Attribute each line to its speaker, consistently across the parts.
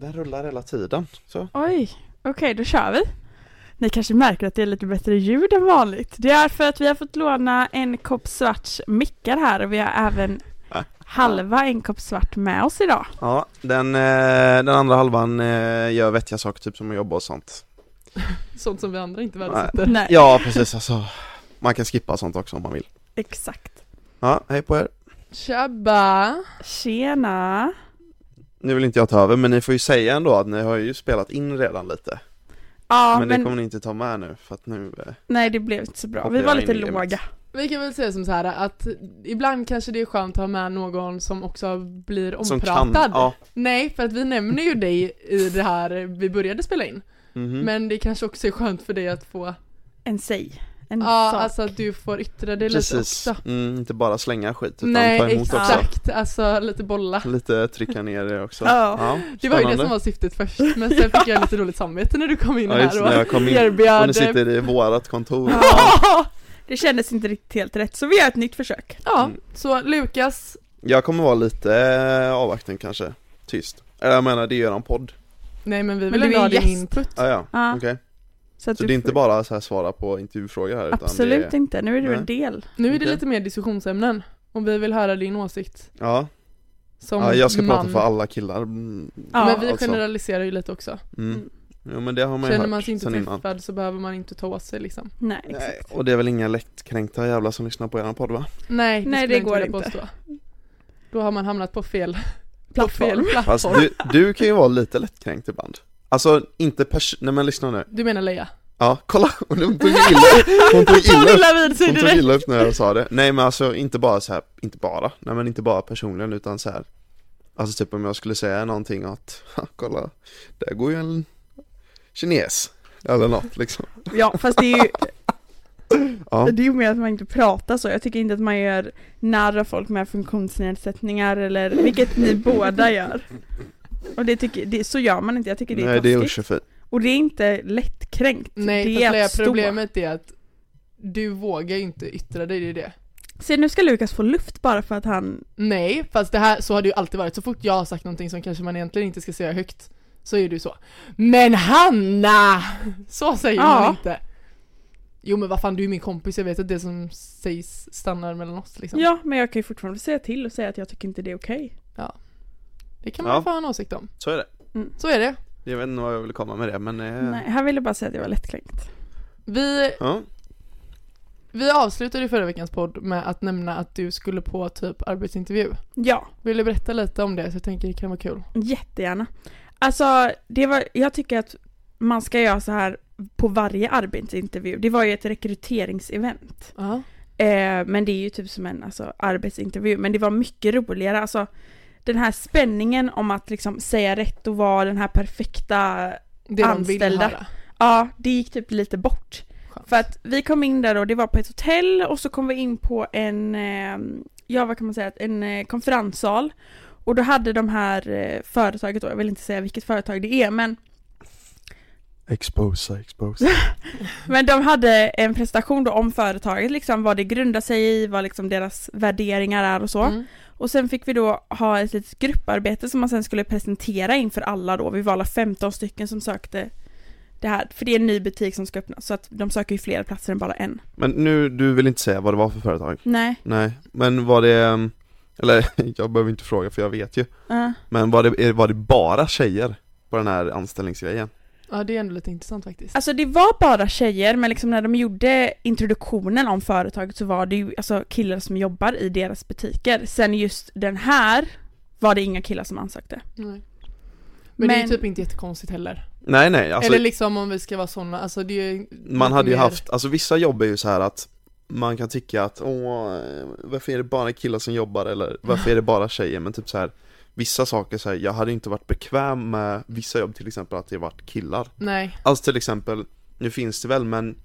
Speaker 1: Den rullar hela tiden. Så.
Speaker 2: Oj, okej då kör vi. Ni kanske märker att det är lite bättre ljud än vanligt. Det är för att vi har fått låna en kopp svart mickar här och vi har även halva en kopp svart med oss idag.
Speaker 1: Ja, den, eh, den andra halvan eh, gör vettiga saker, typ som att jobba och sånt.
Speaker 3: Sånt som vi andra inte
Speaker 1: Nej.
Speaker 3: värdesätter.
Speaker 2: Nej,
Speaker 1: Ja, precis alltså. Man kan skippa sånt också om man vill.
Speaker 2: exakt.
Speaker 1: Ja, hej på er.
Speaker 3: Tjabba!
Speaker 2: Tjena!
Speaker 1: Nu vill inte jag ta över, men ni får ju säga ändå att ni har ju spelat in redan lite.
Speaker 2: Ja,
Speaker 1: men
Speaker 2: men,
Speaker 1: det kommer ni inte ta med nu, för att nu... eh,
Speaker 2: nej det blev inte så bra.
Speaker 1: Hoppar
Speaker 2: Vi
Speaker 1: jag
Speaker 2: var
Speaker 1: in
Speaker 2: lite
Speaker 1: i gamet.
Speaker 2: låga.
Speaker 3: Vi kan väl säga som så här att ibland kanske det är skönt att ha med någon som också blir
Speaker 1: Som
Speaker 3: ompratad.
Speaker 1: kan, ja.
Speaker 3: Nej, för att vi nämner ju dig i det här vi började spela in.
Speaker 1: Mhm.
Speaker 3: Men det kanske också är skönt för dig att få,
Speaker 2: Mm, En säg. En
Speaker 3: ja
Speaker 2: sak.
Speaker 3: alltså att du får yttra dig lite
Speaker 1: Precis,
Speaker 3: också.
Speaker 1: mm, inte bara slänga skit utan
Speaker 3: Nej,
Speaker 1: ta emot också.
Speaker 3: exakt. Alltså lite bolla.
Speaker 1: Lite trycka ner det också.
Speaker 2: Ja.
Speaker 3: Det var ju det
Speaker 1: spännande.
Speaker 3: som var syftet först, men sen fick jag lite dåligt samvete när du kom in
Speaker 1: Ja, just
Speaker 3: här
Speaker 1: när
Speaker 3: och
Speaker 1: jag kom in. Och ni
Speaker 3: erbjöd
Speaker 1: sitter i vårat kontor. Ja.
Speaker 2: Ja. Det kändes inte riktigt helt rätt så vi gör ett nytt försök.
Speaker 3: Ja,
Speaker 1: Mm.
Speaker 3: så Lukas,
Speaker 1: Jag kommer vara lite eh, avvaktande kanske, tyst. Eller jag menar, det är ju eran podd.
Speaker 3: nej men vi
Speaker 2: Men
Speaker 3: vill
Speaker 2: du
Speaker 3: ändå
Speaker 2: är
Speaker 3: ha din
Speaker 2: gäst.
Speaker 3: input.
Speaker 1: Ah, ja,
Speaker 2: Ja.
Speaker 1: okej.
Speaker 2: att
Speaker 1: Så
Speaker 2: du
Speaker 1: det är inte
Speaker 2: får-
Speaker 1: bara så här svara på intervjufrågor här utan
Speaker 2: Absolut
Speaker 1: det är,
Speaker 2: inte, nu är du
Speaker 1: Nej.
Speaker 2: en del.
Speaker 3: Nu är det
Speaker 1: Okej.
Speaker 3: lite mer diskussionsämnen, och vi vill höra din åsikt
Speaker 1: Ja,
Speaker 3: som
Speaker 1: ja jag ska
Speaker 3: man.
Speaker 1: prata för alla killar. Mm,
Speaker 2: Ja.
Speaker 3: Men vi
Speaker 1: alltså.
Speaker 3: generaliserar ju lite också.
Speaker 1: Mm. Jo men det har man ju
Speaker 3: Känner
Speaker 1: hört
Speaker 3: man sig inte
Speaker 1: sen innan.
Speaker 3: träffad så behöver man inte ta åt sig liksom.
Speaker 2: Nej,
Speaker 1: Nej,
Speaker 2: exakt.
Speaker 1: och det är väl inga lättkränkta jävlar som lyssnar på eran podd va?
Speaker 3: Nej, det,
Speaker 2: Nej,
Speaker 3: skulle
Speaker 2: det
Speaker 3: jag inte
Speaker 2: går
Speaker 3: vilja
Speaker 2: inte.
Speaker 3: påstå. Då har man hamnat på fel
Speaker 2: Plattform.
Speaker 3: På fel plattform.
Speaker 1: Fast du, du kan ju vara lite lättkränkt ibland. Alltså inte pers... Nej men lyssna nu.
Speaker 3: Du menar Leia?
Speaker 1: Ja, kolla! Hon tog illa upp! Hon tog illa upp!
Speaker 2: illa vid sig
Speaker 1: Hon tog
Speaker 2: direkt.
Speaker 1: illa upp när jag sa det. Nej men alltså inte bara så här, inte bara, nej men inte bara personligen utan så här. Alltså typ om jag skulle säga någonting att, "Ha, kolla, där går ju en kines. Eller något liksom.
Speaker 2: Ja, fast det är ju
Speaker 1: Ja.
Speaker 2: det är ju mer att man inte pratar så. Jag tycker inte att man gör narr av folk med funktionsnedsättningar eller vilket ni båda gör. Och det tycker, det, så gör man inte, jag tycker det är
Speaker 1: Nej det är
Speaker 2: taskigt.
Speaker 1: uschefint.
Speaker 2: Och det är inte lättkränkt.
Speaker 3: Nej,
Speaker 2: det
Speaker 3: fast
Speaker 2: är
Speaker 3: Leia,
Speaker 2: att stå.
Speaker 3: problemet är att du vågar ju inte yttra dig, det är det.
Speaker 2: Se nu ska Lukas få luft bara för att han,
Speaker 3: Nej, fast det här, så har det ju alltid varit. Så fort jag har sagt någonting som kanske man egentligen inte ska säga högt, så är du så. Men Hanna! Så säger
Speaker 2: Ja.
Speaker 3: man inte. Jo men vad fan, du är min kompis, jag vet att det som sägs stannar mellan oss liksom.
Speaker 2: ja men jag kan ju fortfarande säga till och säga att jag tycker inte det är okej.
Speaker 3: Det kan man
Speaker 1: Ja.
Speaker 3: få ha en åsikt om.
Speaker 1: Så är det.
Speaker 3: Så är det.
Speaker 1: Jag vet inte vad jag ville komma med det men, eh,
Speaker 2: Mm. Nej, han ville bara säga att jag var lättkränkt.
Speaker 3: Vi,
Speaker 1: ja.
Speaker 3: vi avslutade ju förra veckans podd med att nämna att du skulle på typ arbetsintervju.
Speaker 2: Ja,
Speaker 3: Vill du berätta lite om det? Så jag tänker det kan vara kul.
Speaker 2: Jättegärna. Alltså, det var, jag tycker att man ska göra så här på varje arbetsintervju. Det var ju ett rekryteringsevent.
Speaker 3: Ja.
Speaker 2: Eh, men det är ju typ som en alltså, arbetsintervju. Men det var mycket roligare. Alltså, den här spänningen om att liksom säga rätt och vara den här perfekta
Speaker 3: Det de vill
Speaker 2: Anställda.
Speaker 3: höra.
Speaker 2: Ja, det gick typ lite bort.
Speaker 3: Skönt.
Speaker 2: För att vi kom in där och det var på ett hotell och så kom vi in på en, eh, ja vad kan man säga, en eh, konferenssal. Och då hade de här eh, företaget då, jag vill inte säga vilket företag det är men,
Speaker 1: Exposa, exposa.
Speaker 2: men de hade en presentation då om företaget liksom, vad det grundar sig i, vad liksom deras värderingar är och så.
Speaker 3: Mm.
Speaker 2: Och sen fick vi då ha ett litet grupparbete som man sen skulle presentera inför alla då. Vi var alla 15 stycken som sökte det här. För det är en ny butik som ska öppnas så att de söker ju fler platser än bara en.
Speaker 1: Men nu, du vill inte säga vad det var för företag?
Speaker 2: Nej.
Speaker 1: Nej, men var det, ehm, eller jag behöver inte fråga för jag vet ju.
Speaker 2: ja.
Speaker 1: Men var det, var det bara tjejer på den här anställningsgrejen?
Speaker 3: Ja det är ändå lite intressant faktiskt.
Speaker 2: Alltså det var bara tjejer men liksom när de gjorde introduktionen om företaget så var det ju alltså killar som jobbar i deras butiker. Sen just den här var det inga killar som ansökte.
Speaker 3: Nej. Men, det är ju
Speaker 2: Men-
Speaker 3: typ inte jättekonstigt heller.
Speaker 1: Nej nej, alltså
Speaker 3: Eller liksom om vi ska vara sådana, alltså det är ju
Speaker 1: Man hade ju
Speaker 3: mer-
Speaker 1: haft, alltså vissa jobb är ju så här att man kan tycka att åh, eh, varför är det bara killar som jobbar eller varför är det bara tjejer? Men typ så här Vissa saker så här, jag hade inte varit bekväm med vissa jobb till exempel att det varit killar
Speaker 3: Nej,
Speaker 1: Alltså till exempel, nu finns det väl men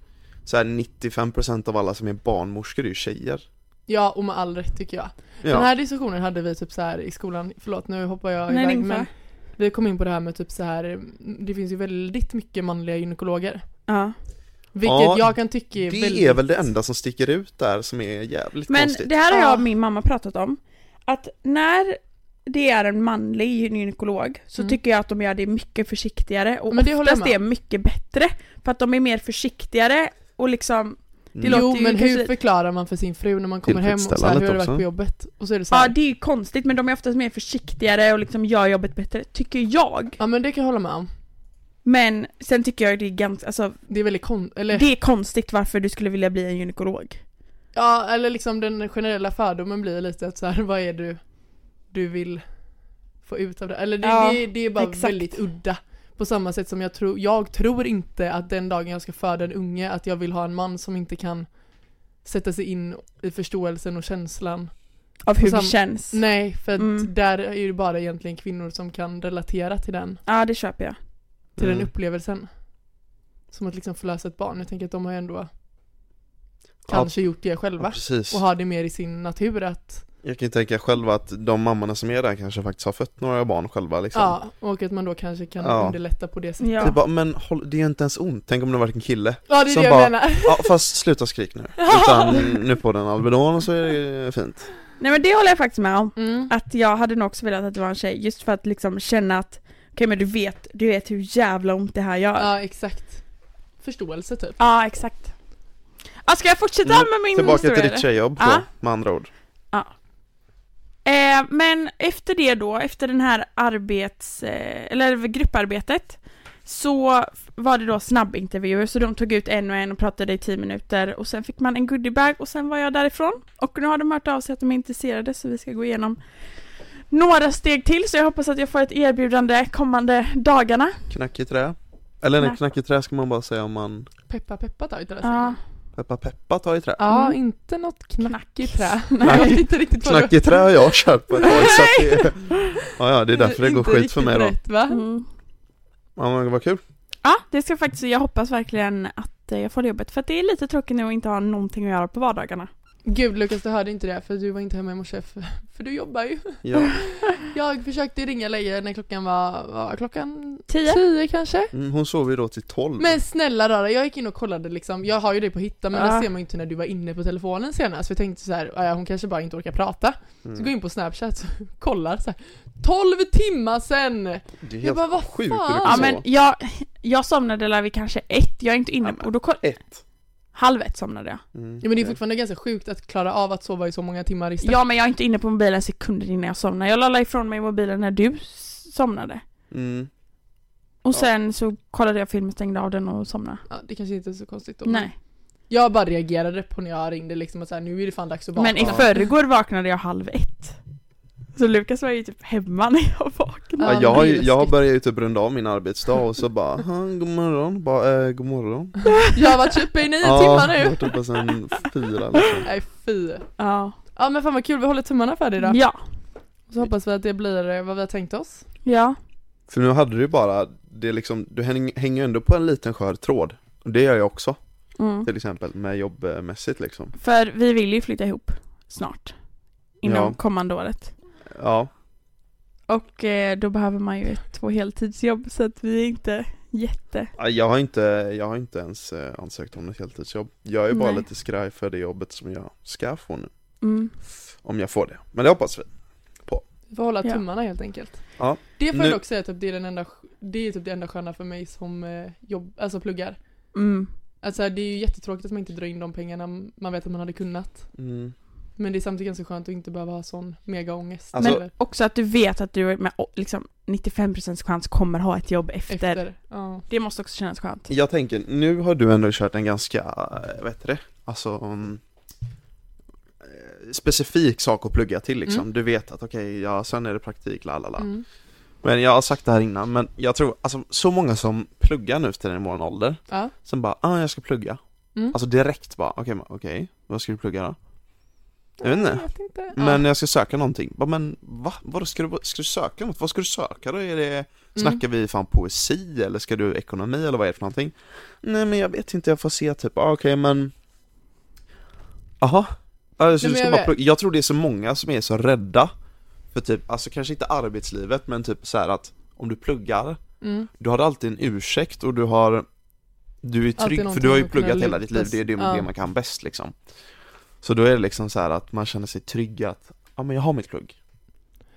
Speaker 1: så här 95% av alla som är barnmorskor är ju tjejer
Speaker 3: ja och med all rätt tycker jag. Den
Speaker 1: Ja,
Speaker 3: här diskussionen hade vi typ så här i skolan, förlåt nu hoppar jag
Speaker 2: Nej, det är
Speaker 3: iväg
Speaker 2: ingen
Speaker 3: men
Speaker 2: fara.
Speaker 3: vi kom in på det här med typ så här det finns ju väldigt mycket manliga gynekologer.
Speaker 2: Ja.
Speaker 3: Vilket
Speaker 1: Ja,
Speaker 3: jag kan tycka är
Speaker 1: Det
Speaker 3: väldigt...
Speaker 1: är väl det enda som sticker ut där som är jävligt
Speaker 2: Men
Speaker 1: konstigt.
Speaker 2: det här har jag och
Speaker 3: Ja.
Speaker 2: min mamma pratat om. Att när det är en manlig gynekolog så
Speaker 3: Mm.
Speaker 2: tycker jag att de gör det mycket försiktigare och
Speaker 3: Men det håller jag
Speaker 2: oftast är mycket bättre. För att de är mer försiktigare och liksom,
Speaker 1: Mm.
Speaker 2: det låter
Speaker 3: jo
Speaker 2: ju
Speaker 3: men hur
Speaker 2: kanske-
Speaker 3: förklarar man för sin fru när man kommer hem och så här,
Speaker 1: Tillfredsställandet
Speaker 3: hur har det
Speaker 1: också.
Speaker 3: varit på jobbet? Och så är det så
Speaker 2: ja
Speaker 3: här,
Speaker 2: det är ju konstigt men de är oftast mer försiktigare och liksom gör jobbet bättre, tycker jag.
Speaker 3: ja men det kan jag hålla med om.
Speaker 2: Men sen tycker jag det är ganska, alltså
Speaker 3: Det är väldigt kon... eller
Speaker 2: det är konstigt varför du skulle vilja bli en gynekolog.
Speaker 3: Ja, eller liksom den generella fördomen blir lite att så här, vad är du du vill få ut av det? Eller det,
Speaker 2: Ja,
Speaker 3: det, det är bara
Speaker 2: exakt.
Speaker 3: väldigt udda. På samma sätt som jag tror, jag tror inte att den dagen jag ska föda en unge att jag vill ha en man som inte kan sätta sig in i förståelsen och känslan.
Speaker 2: Av hur
Speaker 3: sam-
Speaker 2: det känns.
Speaker 3: Nej, för att
Speaker 2: Mm.
Speaker 3: där är ju bara egentligen kvinnor som kan relatera till den,
Speaker 2: Ja det köper jag.
Speaker 3: till
Speaker 1: Mm.
Speaker 3: den upplevelsen. Som att liksom förlösa ett barn. Jag tänker att de har ju ändå kanske gjort det
Speaker 1: ja,
Speaker 3: själva.
Speaker 1: precis.
Speaker 3: Och har det mer i sin natur att
Speaker 1: Jag kan ju tänka själv att de mammorna som är där kanske faktiskt har fött några barn själva liksom.
Speaker 3: Ja, och att man då kanske kan
Speaker 1: Ja.
Speaker 3: underlätta på det sättet.
Speaker 1: Det är
Speaker 2: Ja.
Speaker 1: bara, men håll, det gör inte ens ont, tänk om det varit en kille.
Speaker 3: Ja, det är
Speaker 1: Som
Speaker 3: det jag
Speaker 1: bara-
Speaker 3: menar.
Speaker 1: Ja fast sluta skrik nu, utan nu på den Alvedon och så är det fint.
Speaker 2: Nej men det håller jag faktiskt med om.
Speaker 3: Mm.
Speaker 2: att jag hade nog också velat att det var en tjej just för att liksom känna att okej men du vet, du vet hur jävla ont det här gör. Ja,
Speaker 3: Ja, exakt. Förståelse typ.
Speaker 2: exakt. Ah, ska jag fortsätta
Speaker 1: Mm,
Speaker 2: med min
Speaker 1: Tillbaka
Speaker 2: historia?
Speaker 1: till
Speaker 2: eller?
Speaker 1: ditt tjejjobb då,
Speaker 2: Ja.
Speaker 1: med andra ord.
Speaker 2: Eh, men efter det då, efter den här arbets, eh, eller grupparbetet så var det då snabbintervjuer så de tog ut en och en och pratade i tio minuter och sen fick man en goodiebag och sen var jag därifrån och nu har de hört av sig att de är intresserade så vi ska gå igenom några steg till så jag hoppas att jag får ett erbjudande kommande dagarna.
Speaker 1: Knack i trä. Eller nej,
Speaker 2: Knack.
Speaker 1: knack i trä ska man bara säga om man
Speaker 3: Peppa peppa tar inte det.
Speaker 2: Ja.
Speaker 1: peppa peppa tar i trä.
Speaker 3: Ja,
Speaker 2: Mm.
Speaker 3: inte något knack i trä. Nej,
Speaker 1: Knack.
Speaker 3: jag vet inte riktigt vad
Speaker 1: Knack i trä har jag köpt på ett tag, så att det, ja, ja, det är därför det går
Speaker 3: Inte
Speaker 1: skit för mig
Speaker 3: riktigt
Speaker 1: då.
Speaker 3: Rätt, va?
Speaker 2: Mm.
Speaker 1: Ja men vad kul.
Speaker 2: Ja, det ska faktiskt, jag hoppas verkligen att eh, jag får det jobbet för att det är lite tråkigt nu att inte ha någonting att göra på vardagarna.
Speaker 3: Gud Lukas, du hörde inte det för du var inte hemma i morse för, för du jobbar ju.
Speaker 1: Ja.
Speaker 3: Jag försökte ringa Leia när klockan var, var klockan
Speaker 2: Tio?
Speaker 3: tio kanske?
Speaker 1: Mm, Hon sov ju då till 12.
Speaker 3: Men snälla rara, jag gick in och kollade liksom, jag har ju dig på hitta men
Speaker 2: Ja.
Speaker 3: det ser man ju inte när du var inne på telefonen senast för jag tänkte så här, "Ja, hon kanske bara inte orkar prata. Så går
Speaker 1: Mm.
Speaker 3: jag in på snapchat, så kollar så här, 12 timmar sen!
Speaker 1: Det är
Speaker 3: Jag bara,
Speaker 1: helt
Speaker 3: vad
Speaker 1: sjukt hur det
Speaker 3: fan?
Speaker 2: Ja
Speaker 1: kan
Speaker 2: men
Speaker 1: sova.
Speaker 2: jag, jag somnade där vid kanske ett, jag är inte
Speaker 1: Ja,
Speaker 2: inne
Speaker 1: men-
Speaker 2: på, och då koll,
Speaker 1: Ett.
Speaker 2: halv ett somnade jag.
Speaker 1: Mm.
Speaker 3: Ja, men det är fortfarande ganska sjukt att klara av att sova i så många timmar i sträck.
Speaker 2: Ja men jag är inte inne på mobilen sekunder innan jag somnar. Jag lallade ifrån mig mobilen när du s- somnade.
Speaker 1: Mm.
Speaker 2: Och
Speaker 1: Ja.
Speaker 2: sen så kollade jag filmen, stängde av den och somnade.
Speaker 3: Ja, det kanske inte är så konstigt då.
Speaker 2: Nej.
Speaker 3: Jag bara reagerade på när jag ringde liksom att så här, nu är det fan dags att vakna.
Speaker 2: Men i förrgår vaknade jag halv ett. Så Lukas var ju typ hemma när jag
Speaker 3: Ja,
Speaker 1: Ja,
Speaker 2: vaknade.
Speaker 3: men
Speaker 1: jag, har
Speaker 3: det är
Speaker 1: ju- jag
Speaker 3: läskigt.
Speaker 1: börjar ju typ runda av min arbetsdag och så bara, "Aha, god morgon, bara, eh, god morgon.
Speaker 3: Jag har varit uppe i nio
Speaker 1: Ja,
Speaker 3: timmar
Speaker 1: jag har
Speaker 3: nu!
Speaker 1: varit uppe sen fyra liksom.
Speaker 3: Nej fy.
Speaker 2: Ja.
Speaker 3: Ja men fan vad kul, vi håller tummarna för dig då.
Speaker 2: Ja.
Speaker 3: Så hoppas vi att det blir eh, vad vi har tänkt oss.
Speaker 2: Ja.
Speaker 1: För nu hade du ju bara, det är liksom, du häng- hänger ju ändå på en liten skör tråd. Och det gör jag också,
Speaker 2: Mm.
Speaker 1: till exempel, med jobbmässigt liksom.
Speaker 2: För vi vill ju flytta ihop snart. Inom
Speaker 1: Ja.
Speaker 2: kommande året.
Speaker 1: Ja,
Speaker 2: Och eh, då behöver man ju ett, två heltidsjobb så att vi är inte jätte...
Speaker 1: jag har inte, jag har inte ens eh, ansökt om ett heltidsjobb. Jag är bara
Speaker 2: Nej.
Speaker 1: lite skraj för det jobbet som jag ska få nu.
Speaker 2: Mm.
Speaker 1: Om jag får det, men det hoppas vi.
Speaker 3: Vi får hålla
Speaker 2: Ja.
Speaker 3: tummarna helt enkelt.
Speaker 1: Ja.
Speaker 3: Det får
Speaker 1: Nu-
Speaker 3: jag dock säga typ, det är, den enda, det är typ det enda sköna för mig som eh, jobb, alltså pluggar.
Speaker 2: Mm.
Speaker 3: Alltså det är ju jättetråkigt att man inte drar in de pengarna man vet att man hade kunnat.
Speaker 1: Mm.
Speaker 3: Men det är samtidigt ganska skönt att inte behöva ha sån megaångest.
Speaker 1: Alltså-
Speaker 3: Eller
Speaker 2: Också att du vet att du med å- liksom 95% chans kommer ha ett jobb efter.
Speaker 3: efter. Ja.
Speaker 2: Det måste också kännas skönt.
Speaker 1: Jag tänker, nu har du ändå kört en ganska, eh, vad heter det, alltså mm, eh, specifik sak att plugga till liksom.
Speaker 3: Mm.
Speaker 1: Du vet att okej, ja, sen är det praktik, la la la.
Speaker 3: Mm.
Speaker 1: Men jag har sagt det här innan, men jag tror, alltså så många som pluggar nu till den i vår ålder,
Speaker 3: ja.
Speaker 1: som bara, ah jag ska plugga.
Speaker 3: Mm.
Speaker 1: Alltså direkt bara, okej, men okej, vad ska du plugga då? Jag vet inte.
Speaker 3: Jag vet inte. Mm.
Speaker 1: Men jag ska söka någonting. Bara, men va? Vadå, ska du, ska du söka något? Vad ska du söka då? Är det,
Speaker 3: ja.
Speaker 1: snackar vi fan poesi eller ska du ekonomi eller vad är det för någonting? Nej men jag vet inte, jag får se typ, ah, okej men Jaha, alltså,
Speaker 3: Nej, men
Speaker 1: jag, ska
Speaker 3: jag
Speaker 1: bara
Speaker 3: vet.
Speaker 1: plugga. jag tror det är så många som är så rädda för typ, alltså kanske inte arbetslivet men typ så här att om du pluggar,
Speaker 3: Mm.
Speaker 1: du har alltid en ursäkt och du har Du är
Speaker 3: Alltid
Speaker 1: trygg, för
Speaker 3: någonting
Speaker 1: du har ju
Speaker 3: att kunna
Speaker 1: pluggat hela
Speaker 3: luta
Speaker 1: ditt liv, det är det,
Speaker 3: sig-
Speaker 1: det
Speaker 3: ja.
Speaker 1: man kan bäst liksom Så då är det liksom så här att man känner sig trygg att, ja men jag har mitt plugg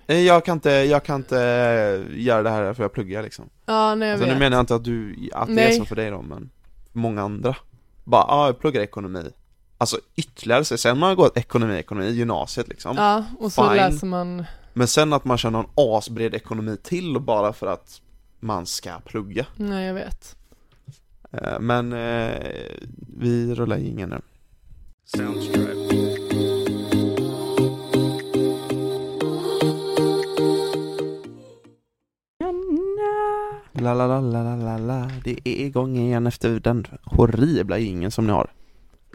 Speaker 1: Eh, Jag kan inte, jag kan inte eh, göra det här för jag pluggar liksom
Speaker 3: Ja, nej jag
Speaker 1: alltså,
Speaker 3: vet.
Speaker 1: nu menar jag inte att du, att det är
Speaker 3: Nej.
Speaker 1: så för dig då men Många andra Bara, ja jag pluggar ekonomi Alltså ytterligare, så- sen har man gått ekonomi, ekonomi, i gymnasiet liksom
Speaker 3: Ja, och så
Speaker 1: Fine.
Speaker 3: läser man.
Speaker 1: Men sen att man kör någon asbred ekonomi till bara för att man ska plugga
Speaker 3: Nej, jag vet.
Speaker 1: Eh, Men eh, vi rullar ingen nu
Speaker 4: Soundstripe.
Speaker 2: Janna.
Speaker 1: La la la la la la la Det är igång igen efter den horribla ingen som ni har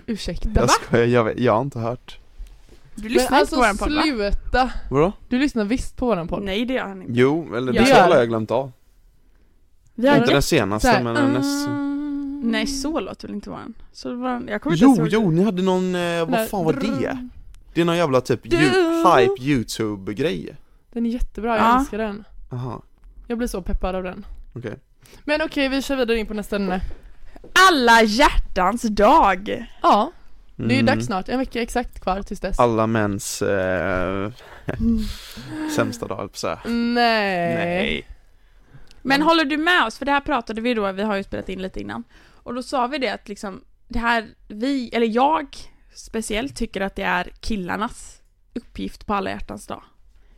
Speaker 3: Ursäkta.
Speaker 1: Jag skojar, jag, vet, jag har inte hört
Speaker 2: Du
Speaker 3: Men
Speaker 2: lyssnar
Speaker 3: alltså
Speaker 2: inte på våran podd va?
Speaker 3: sluta!
Speaker 1: Vadå?
Speaker 3: Du lyssnar visst på våran podd?
Speaker 2: Nej det gör han inte.
Speaker 1: Jo, eller
Speaker 2: Jag
Speaker 1: det
Speaker 3: gör.
Speaker 1: har jag glömt av
Speaker 2: Vi
Speaker 1: Inte
Speaker 2: har
Speaker 1: den senaste
Speaker 3: Såhär,
Speaker 1: men
Speaker 3: mm.
Speaker 1: den nästa
Speaker 3: "Ah."
Speaker 2: Nej så låter väl inte våran? Så våran... Jag kommer inte
Speaker 1: Jo,
Speaker 2: ens ihåg-
Speaker 1: jo, ni hade någon, eh,
Speaker 3: Den där-
Speaker 1: vad fan var det?
Speaker 3: drrrr.
Speaker 1: Det är någon jävla typ
Speaker 3: Du.
Speaker 1: you, hype youtube-grej
Speaker 3: Den är jättebra, jag
Speaker 2: Ja.
Speaker 3: älskar den.
Speaker 1: Aha,
Speaker 3: Jag blir så peppad av den.
Speaker 1: okej
Speaker 3: Men okej, vi kör vidare in på nästa ämne.
Speaker 2: Alla hjärtans dag!
Speaker 3: Ja, det är ju
Speaker 1: Mm.
Speaker 3: dags snart. En vecka exakt kvar tills dess.
Speaker 1: Alla mäns eh, sämsta dag, höll jag på att säga.
Speaker 3: Nej.
Speaker 2: Men
Speaker 3: Mm.
Speaker 2: håller du med oss? För det här pratade vi då, vi har ju spelat in lite innan. Och då sa vi det att liksom, det här, vi, eller jag speciellt tycker att det är killarnas uppgift på alla hjärtans dag.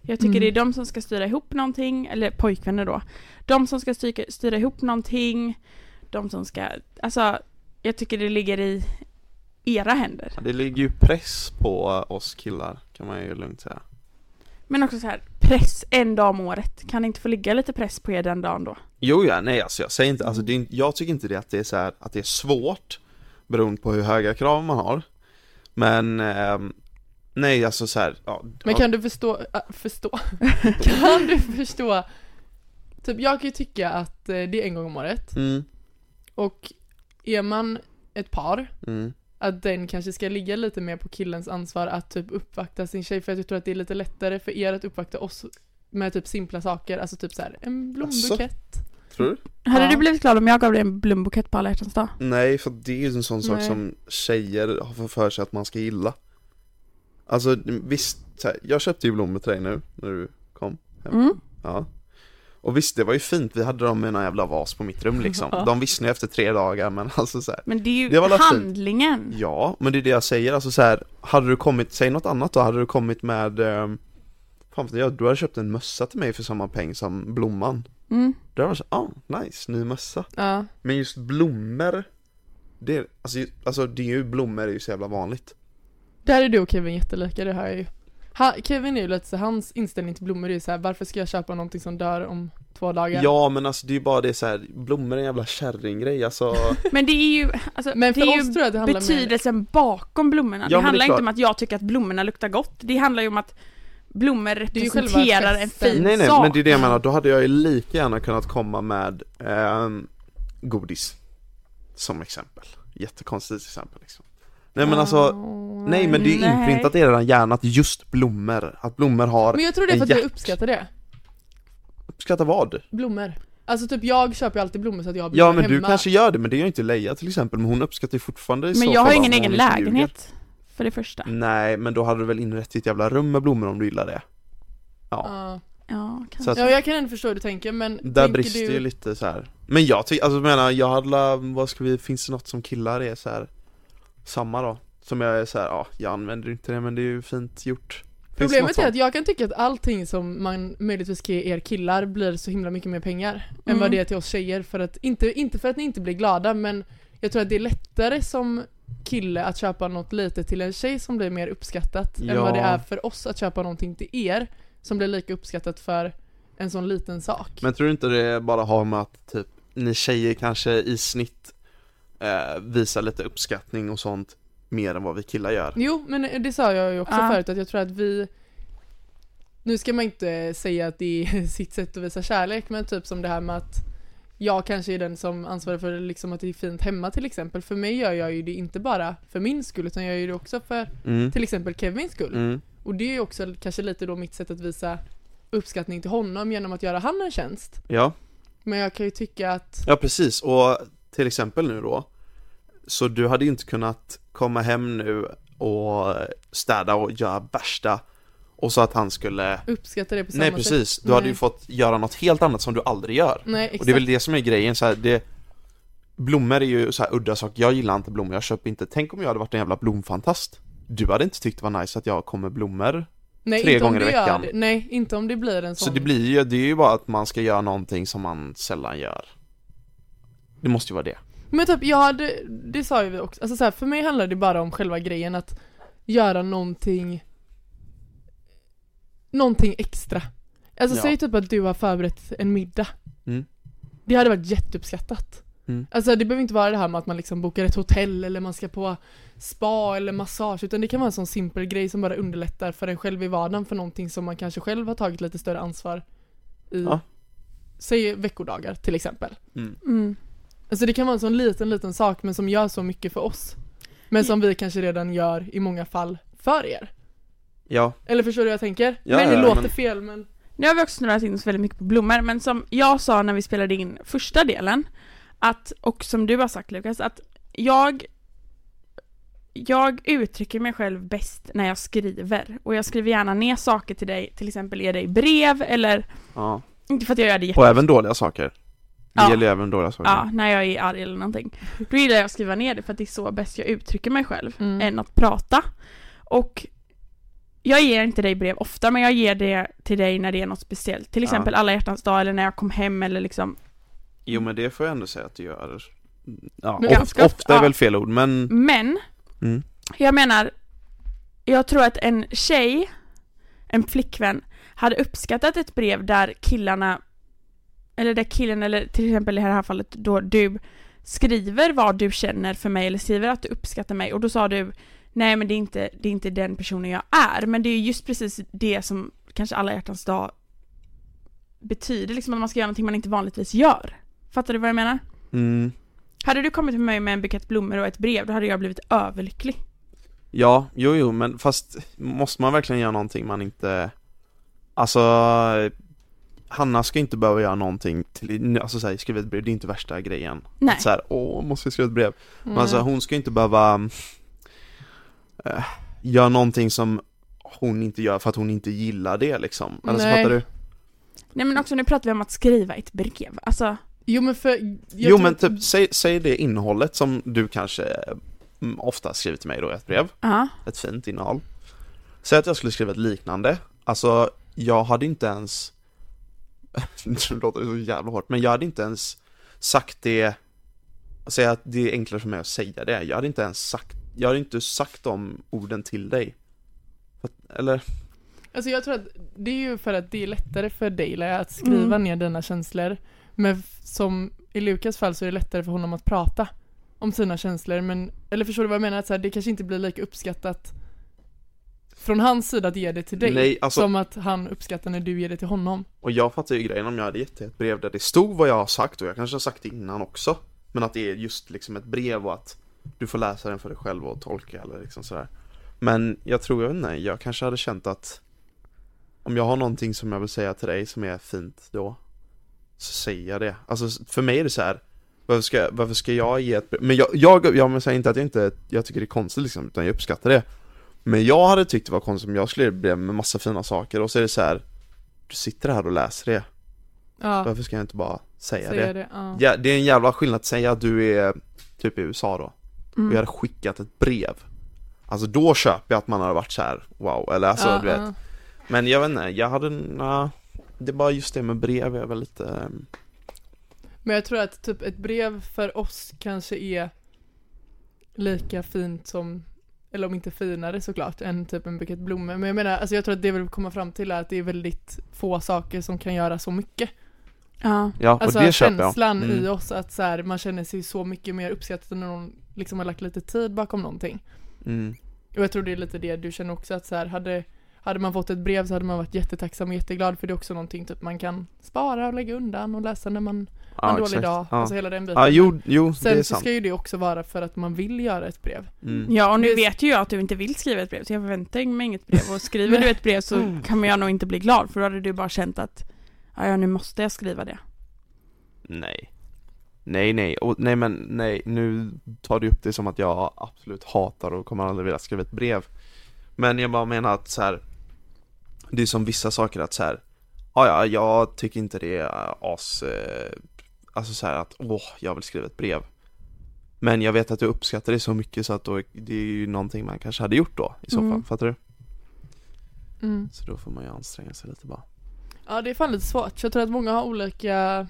Speaker 2: Jag tycker
Speaker 3: Mm.
Speaker 2: det är de som ska styra ihop någonting, eller pojkvänner då. De som ska styra, styra ihop någonting, de som ska, alltså jag tycker det ligger i era händer.
Speaker 1: Det ligger ju press på oss killar, kan man ju lugnt säga
Speaker 2: Men också så här, press en dag om året. Kan det inte få ligga lite press på er den dagen då?
Speaker 1: Jo ja, nej alltså jag säger inte, alltså det är, inte- jag tycker inte det att det är så här, att det är svårt Beroende på hur höga krav man har Men ehm, Nej alltså så här, ja,
Speaker 3: Men kan du förstå, äh, förstå? kan du förstå? Typ jag kan ju tycka att eh, det är en gång om året
Speaker 1: mm,
Speaker 3: och är man ett par
Speaker 1: mm,
Speaker 3: att den kanske ska ligga lite mer på killens ansvar att typ uppvakta sin tjej för att jag tror att det är lite lättare för er att uppvakta oss med typ simpla saker, alltså typ så här en blombukett.
Speaker 1: Tror du?
Speaker 2: Hade
Speaker 3: Ja.
Speaker 2: du blivit glad om jag gav dig en blombukett på alla hjärtans dag?
Speaker 1: Nej för det är ju en sån sak
Speaker 3: Nej.
Speaker 1: som tjejer har fått för sig att man ska gilla Alltså visst, så här, jag köpte ju blommor till dig nu när du kom
Speaker 2: Mm.
Speaker 1: Ja Och visst det var ju fint, vi hade dem i någon jävla vas på mitt rum liksom
Speaker 3: Ja.
Speaker 1: De vissnade efter tre dagar men alltså så här,
Speaker 2: Men det är ju
Speaker 1: Det var väl fint.
Speaker 2: handlingen.
Speaker 1: Ja, men det är det jag säger, alltså så här, hade du kommit, säg något annat då, hade du kommit med ehm, Fan vet jag, du hade köpt en mössa till mig för samma peng som blomman
Speaker 2: Mm.
Speaker 1: Då hade jag varit såhär, ah, nice, ny mössa
Speaker 3: Ja.
Speaker 1: Men just blommor det, är- alltså, ju- alltså det är ju, blommor är ju så jävla vanligt
Speaker 3: Där är du och Kevin jättelika, det hör jag ju. Ha, Kevin är ju lite så hans inställning till blommor är ju så här, varför ska jag köpa någonting som dör om två dagar?
Speaker 1: Ja men alltså det är ju bara det så här, blommor är en jävla kärringgrej alltså
Speaker 2: Men det är ju, alltså,
Speaker 3: Men för
Speaker 2: det är
Speaker 3: oss
Speaker 2: ju
Speaker 3: tror jag att det handlar mer...
Speaker 2: betydelsen bakom blommorna.
Speaker 1: Ja, men det är
Speaker 2: det handlar inte
Speaker 1: klart.
Speaker 2: om att jag tycker att blommorna luktar gott. Det handlar ju om att blommor
Speaker 3: är ju själva
Speaker 2: representerar en
Speaker 3: festen.
Speaker 2: fin
Speaker 1: Nej nej,
Speaker 2: sak.
Speaker 1: men det är det jag menar, då hade jag ju lika gärna kunnat komma med ehm, godis Som exempel, jättekonstigt exempel liksom Nej men alltså
Speaker 3: Åh,
Speaker 1: Nej men det är ju
Speaker 2: Nej.
Speaker 1: inprintat i eran hjärna att just blommor, att blommor har,
Speaker 3: Men jag tror det är för att vi
Speaker 1: Hjärt-
Speaker 3: uppskattar det.
Speaker 1: uppskatta vad?
Speaker 3: Blommor. Alltså typ jag köper ju alltid blommor så att jag har blommor
Speaker 1: Ja men
Speaker 3: hemma.
Speaker 1: du kanske gör det, men det gör inte Leia till exempel, men hon uppskattar ju fortfarande i
Speaker 2: Men
Speaker 1: så
Speaker 2: jag har
Speaker 1: fall
Speaker 2: ju ingen
Speaker 1: om
Speaker 2: egen
Speaker 1: hon inte ljuger.
Speaker 2: lägenhet. För det första.
Speaker 1: Nej men då hade du väl inrett ditt jävla rum med blommor om du gillar det? Ja,
Speaker 3: Ja.
Speaker 2: Ja, kanske.
Speaker 1: så att,
Speaker 3: ja, jag kan ändå förstå hur du tänker men
Speaker 1: där
Speaker 3: tänker
Speaker 1: brister
Speaker 3: du...
Speaker 1: ju lite så här. Men jag tycker, alltså jag menar, jag hade la- vad ska vi, finns det något som killar är så här samma då? Som jag är så här, ja, jag använder inte det men det är ju fint gjort Finns det något
Speaker 3: Problemet är
Speaker 1: sånt?
Speaker 3: att jag kan tycka att allting som man möjligtvis ska ge er killar blir så himla mycket mer pengar än
Speaker 2: Mm.
Speaker 3: vad det är till oss tjejer. För att, inte, inte för att ni inte blir glada men jag tror att det är lättare som kille att köpa något lite till en tjej som blir mer uppskattat än
Speaker 1: Ja.
Speaker 3: vad det är för oss att köpa någonting till er som blir lika uppskattat för en sån liten sak.
Speaker 1: Men tror du inte det bara har med att typ ni tjejer kanske i snitt eh, visar lite uppskattning och sånt mer än vad vi killar gör?
Speaker 3: Jo, men det sa jag ju också
Speaker 2: Ja.
Speaker 3: förut att jag tror att vi Nu ska man inte säga att det är sitt sätt att visa kärlek men typ som det här med att jag kanske är den som ansvarar för liksom att det är fint hemma till exempel. För mig gör jag ju det inte bara för min skull utan jag gör ju det också för
Speaker 1: Mm.
Speaker 3: till exempel Kevins skull.
Speaker 1: Mm.
Speaker 3: Och det är ju också kanske lite då mitt sätt att visa uppskattning till honom genom att göra han en tjänst.
Speaker 1: Ja.
Speaker 3: Men jag kan ju tycka att
Speaker 1: ja, precis och till exempel nu då, så du hade ju inte kunnat komma hem nu och städa och göra värsta och så att han skulle
Speaker 3: Uppskattar det på samma
Speaker 1: Nej
Speaker 3: sätt.
Speaker 1: precis, du hade ju
Speaker 3: Nej.
Speaker 1: fått göra något helt annat som du aldrig gör.
Speaker 3: Nej, exakt.
Speaker 1: Och det är väl det som är grejen så här, det Blommor är ju så här udda sak, jag gillar inte blommor, jag köper inte. Tänk om jag hade varit en jävla blomfantast. Du hade inte tyckt det var nice att jag kom med blommor.
Speaker 3: Nej,
Speaker 1: tre
Speaker 3: inte om
Speaker 1: gånger i
Speaker 3: det gör
Speaker 1: veckan.
Speaker 3: det. Nej, inte om det blir en sån.
Speaker 1: Så det blir ju, det är ju bara att man ska göra någonting som man sällan gör. Det måste ju vara det.
Speaker 3: Men typ, jag hade, det sa ju vi också, alltså så här, för mig handlar det bara om själva grejen att göra någonting Någonting extra. Alltså
Speaker 1: Ja.
Speaker 3: säg typ att du har förberett en middag.
Speaker 1: Mm.
Speaker 3: Det hade varit jätteuppskattat.
Speaker 1: Mm.
Speaker 3: Alltså det behöver inte vara det här med att man liksom bokar ett hotell eller man ska på spa eller massage utan det kan vara en sån simpel grej som bara underlättar för en själv i vardagen för någonting som man kanske själv har tagit lite större ansvar i.
Speaker 1: Ja.
Speaker 3: Säg veckodagar till exempel.
Speaker 2: Mm.
Speaker 3: Alltså det kan vara en sån liten, liten sak men som gör så mycket för oss. Men som vi kanske redan gör i många fall för er.
Speaker 1: Ja,
Speaker 3: Eller förstår du vad jag tänker?
Speaker 1: Ja,
Speaker 3: men det
Speaker 1: ja,
Speaker 3: låter
Speaker 1: men-
Speaker 3: fel men...
Speaker 2: Nu har vi också snurrat in oss väldigt mycket på blommor, men som jag sa när vi spelade in första delen, att, och som du har sagt Lukas, att jag, jag uttrycker mig själv bäst när jag skriver. Och jag skriver gärna ner saker till dig, till exempel ger dig brev eller,
Speaker 1: ja.
Speaker 2: inte för att jag gör det jätte...
Speaker 1: Och även dåliga saker. Det
Speaker 2: Ja.
Speaker 1: gäller ju även dåliga saker.
Speaker 2: Ja, när jag är arg eller någonting. Då gillar jag att skriva ner det för att det är så bäst jag uttrycker mig själv.
Speaker 3: Mm.
Speaker 2: än att prata. Och jag ger inte dig brev ofta, men jag ger det till dig när det är något speciellt. Till
Speaker 1: Ja.
Speaker 2: exempel alla hjärtans dag eller när jag kom hem eller liksom.
Speaker 1: Jo men det får jag ändå säga att du gör. Ja,
Speaker 3: Men
Speaker 1: of,
Speaker 2: Mm. ganska ofta,
Speaker 1: ofta är
Speaker 2: ja.
Speaker 1: väl fel ord men
Speaker 2: Men,
Speaker 1: Mm.
Speaker 2: jag menar, jag tror att en tjej, en flickvän, hade uppskattat ett brev där killarna, eller där killen, eller till exempel i det här fallet då du skriver vad du känner för mig eller skriver att du uppskattar mig och då sa du nej men det är inte, det är inte den personen jag är men det är just precis det som kanske alla hjärtans dag betyder liksom att man ska göra någonting man inte vanligtvis gör. Fattar du vad jag menar?
Speaker 1: mm,
Speaker 2: Hade du kommit till mig med en bukett blommor och ett brev då hade jag blivit överlycklig.
Speaker 1: Ja, jo jo men fast måste man verkligen göra någonting man inte Alltså Hanna ska inte behöva göra någonting till, alltså så här, skriva ett brev, det är inte värsta grejen
Speaker 2: Nej.
Speaker 1: Så här, åh, måste jag skriva ett brev?
Speaker 3: Mm.
Speaker 1: Men alltså hon ska inte behöva eh, Göra någonting som hon inte gör för att hon inte gillar det liksom Eller så
Speaker 3: Nej.
Speaker 1: fattar du?
Speaker 2: Nej men också nu pratar vi om att skriva ett brev. Alltså,
Speaker 3: Jo men för... jag
Speaker 1: Jo
Speaker 3: tror-
Speaker 1: men typ, säg, säg det innehållet som du kanske eh, mm, ofta skriver till mig då i ett brev
Speaker 2: ja.
Speaker 1: ett fint innehåll. Säg att jag skulle skriva ett liknande, alltså jag hade inte ens, det låter så jävla hårt, men jag hade inte ens sagt det, säg att det är enklare för mig att säga det, jag hade inte ens sagt, jag hade inte sagt de orden till dig. Fast- Eller,
Speaker 3: Alltså jag tror att det är ju för att det är lättare för dig Leia, att skriva
Speaker 2: Mm.
Speaker 3: ner dina känslor. Men f- som i Lukas fall så är det lättare för honom att prata om sina känslor. Men, eller förstår du vad jag menar? Att så här, det kanske inte blir lika uppskattat från hans sida att ge det till dig.
Speaker 1: Nej, alltså-
Speaker 3: Som att han uppskattar när du ger det till honom.
Speaker 1: och jag fattar ju grejen om jag hade gett dig ett brev där det stod vad jag har sagt och jag kanske har sagt det innan också. Men att det är just liksom ett brev och att du får läsa den för dig själv och tolka eller liksom sådär. Men jag tror, jag vet inte, jag kanske hade känt att om jag har någonting som jag vill säga till dig som är fint då så säger jag det. Alltså för mig är det så här. Varför ska, varför ska jag ge ett brev? Men jag, jag, jag men säger inte att jag inte, jag tycker det är konstigt liksom, utan jag uppskattar det. Men jag hade tyckt det var konstigt om jag skulle ge ett brev med massa fina saker och så är det så här. Du sitter här och läser det.
Speaker 3: Ja,
Speaker 1: Varför ska jag inte bara säga det?
Speaker 3: säger det. Ja.
Speaker 1: Ja, det är en jävla skillnad att säga att du är typ i USA då och jag
Speaker 2: Mm.
Speaker 1: hade skickat ett brev Alltså då köper jag att man hade varit så här, wow, eller alltså
Speaker 3: Ja,
Speaker 1: du vet
Speaker 3: ja.
Speaker 1: Men jag vet inte, jag hade, na, det är bara just det med brev är väl lite ehm,
Speaker 3: Men jag tror att typ ett brev för oss kanske är lika fint som, eller om inte finare såklart, än typ en bukett blommor. Men jag menar, alltså jag tror att det vi vill komma fram till är att det är väldigt få saker som kan göra så mycket.
Speaker 2: Ja.
Speaker 1: Ja,
Speaker 3: Alltså
Speaker 1: och det köper jag
Speaker 3: känslan
Speaker 1: Mm.
Speaker 3: i oss att så här, man känner sig så mycket mer uppskattad när någon liksom har lagt lite tid bakom någonting.
Speaker 1: mm.
Speaker 3: Och jag tror det är lite det du känner också att så här, hade, hade man fått ett brev så hade man varit jättetacksam och jätteglad för det är också någonting typ man kan spara och lägga undan och läsa när man
Speaker 1: Ja,
Speaker 3: har en dålig
Speaker 1: exakt.
Speaker 3: dag.
Speaker 1: Ja,
Speaker 3: Alltså hela den biten.
Speaker 1: ja jo, jo det är
Speaker 3: Sen så
Speaker 1: sant
Speaker 3: ska ju det också vara för att man vill göra ett brev.
Speaker 1: mm.
Speaker 2: ja, och nu
Speaker 3: Det-
Speaker 2: vet ju jag att du inte vill skriva ett brev så jag förväntar mig inget brev. Och skriver du ett brev så
Speaker 1: Mm.
Speaker 2: kommer jag nog inte bli glad för då hade du bara känt att ja, ja nu måste jag skriva det.
Speaker 1: Nej Nej nej, och, nej men nej, nu tar du upp det som att jag absolut hatar och kommer aldrig vilja skriva ett brev Men jag bara menar att så här. Det är som vissa saker att så här. "Ah, Ja, jag tycker inte det är as eh, Alltså så här att åh, jag vill skriva ett brev Men jag vet att du uppskattar det så mycket så att då, det är ju någonting man kanske hade gjort då i så
Speaker 3: Mm.
Speaker 1: fall, fattar du?
Speaker 3: Mm.
Speaker 1: Så då får man ju anstränga sig lite bara
Speaker 3: Ja det är fan lite svårt, jag tror att många har olika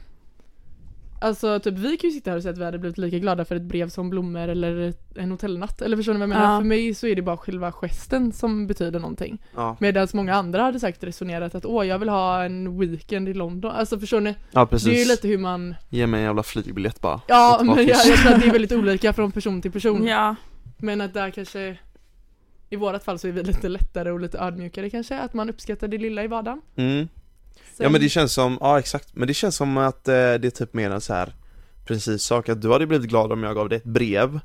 Speaker 3: Alltså typ vi kan ju sitta här och säga att vi hade blivit lika glada för ett brev som blommor eller en hotellnatt Eller förstår ni vad jag menar?
Speaker 2: Ja.
Speaker 3: För mig så är det bara själva gesten som betyder någonting
Speaker 1: Ja,
Speaker 3: Medan många andra hade säkert resonerat att åh jag vill ha en weekend i London Alltså förstår ni?
Speaker 1: ja precis,
Speaker 3: Det är ju lite hur man
Speaker 1: ge mig en jävla flygbiljett bara
Speaker 3: Ja
Speaker 1: Och ta
Speaker 3: men jag,
Speaker 1: fisk.
Speaker 3: jag tror att det är väldigt olika från person till person
Speaker 2: Ja,
Speaker 3: Men att där kanske I vårat fall så är vi lite lättare och lite ödmjukare kanske Att man uppskattar det lilla i vardagen
Speaker 1: mm. Ja
Speaker 3: Sen-
Speaker 1: men det känns som, ja exakt, men det känns som att eh, det är typ mer en så här precis sak att du hade blivit glad om jag gav dig ett brev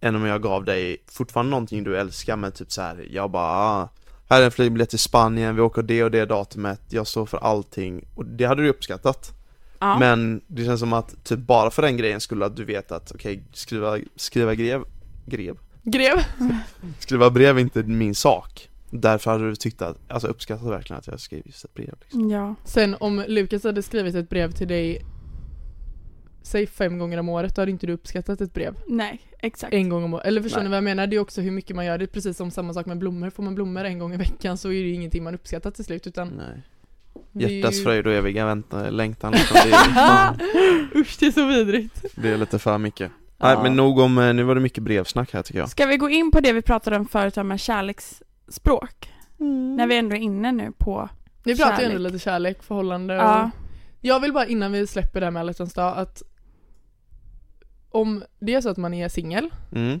Speaker 1: än om jag gav dig fortfarande någonting du älskar men typ så här, jag bara ah, här är en flygbiljett till Spanien, vi åker det och det datumet, jag står för allting och det hade du uppskattat
Speaker 2: ja.
Speaker 1: men det känns som att typ bara för den grejen skulle att du vet att okej skriva, skriva grev, grev,
Speaker 3: Grev!
Speaker 1: skriva brev är inte min sak därför hade du tyckt att, alltså uppskattat verkligen att jag skrev just ett brev liksom.
Speaker 2: ja.
Speaker 3: Sen om Lukas hade skrivit ett brev till dig Säg fem gånger om året, då hade inte du uppskattat ett brev.
Speaker 2: Nej, exakt.
Speaker 3: En gång om året. Eller förstår
Speaker 1: Nej.
Speaker 3: ni vad jag menar? Det är också hur mycket man gör. Det är precis som samma sak med blommor. Får man blommor en gång i veckan så är det ju ingenting man uppskattar till slut utan
Speaker 1: Nej.
Speaker 3: det är
Speaker 1: Hjärtats
Speaker 3: ju-
Speaker 1: fröjd och eviga väntan, längtan liksom. det, är, fan,
Speaker 3: Usch det är så vidrigt.
Speaker 1: det är lite för mycket
Speaker 3: Ja.
Speaker 1: Nej men nog om, eh, nu var det mycket brevsnack här tycker jag
Speaker 2: Ska vi gå in på det vi pratade om förut om med kärleksspråk? När vi ändå är inne nu på...
Speaker 3: Vi pratar ju
Speaker 2: Kärlek.
Speaker 3: ändå lite kärlek, förhållande och...
Speaker 2: Ja,
Speaker 3: Jag vill bara innan vi släpper det här med alla hjärtans dag att om det är så att man är singel
Speaker 1: mm.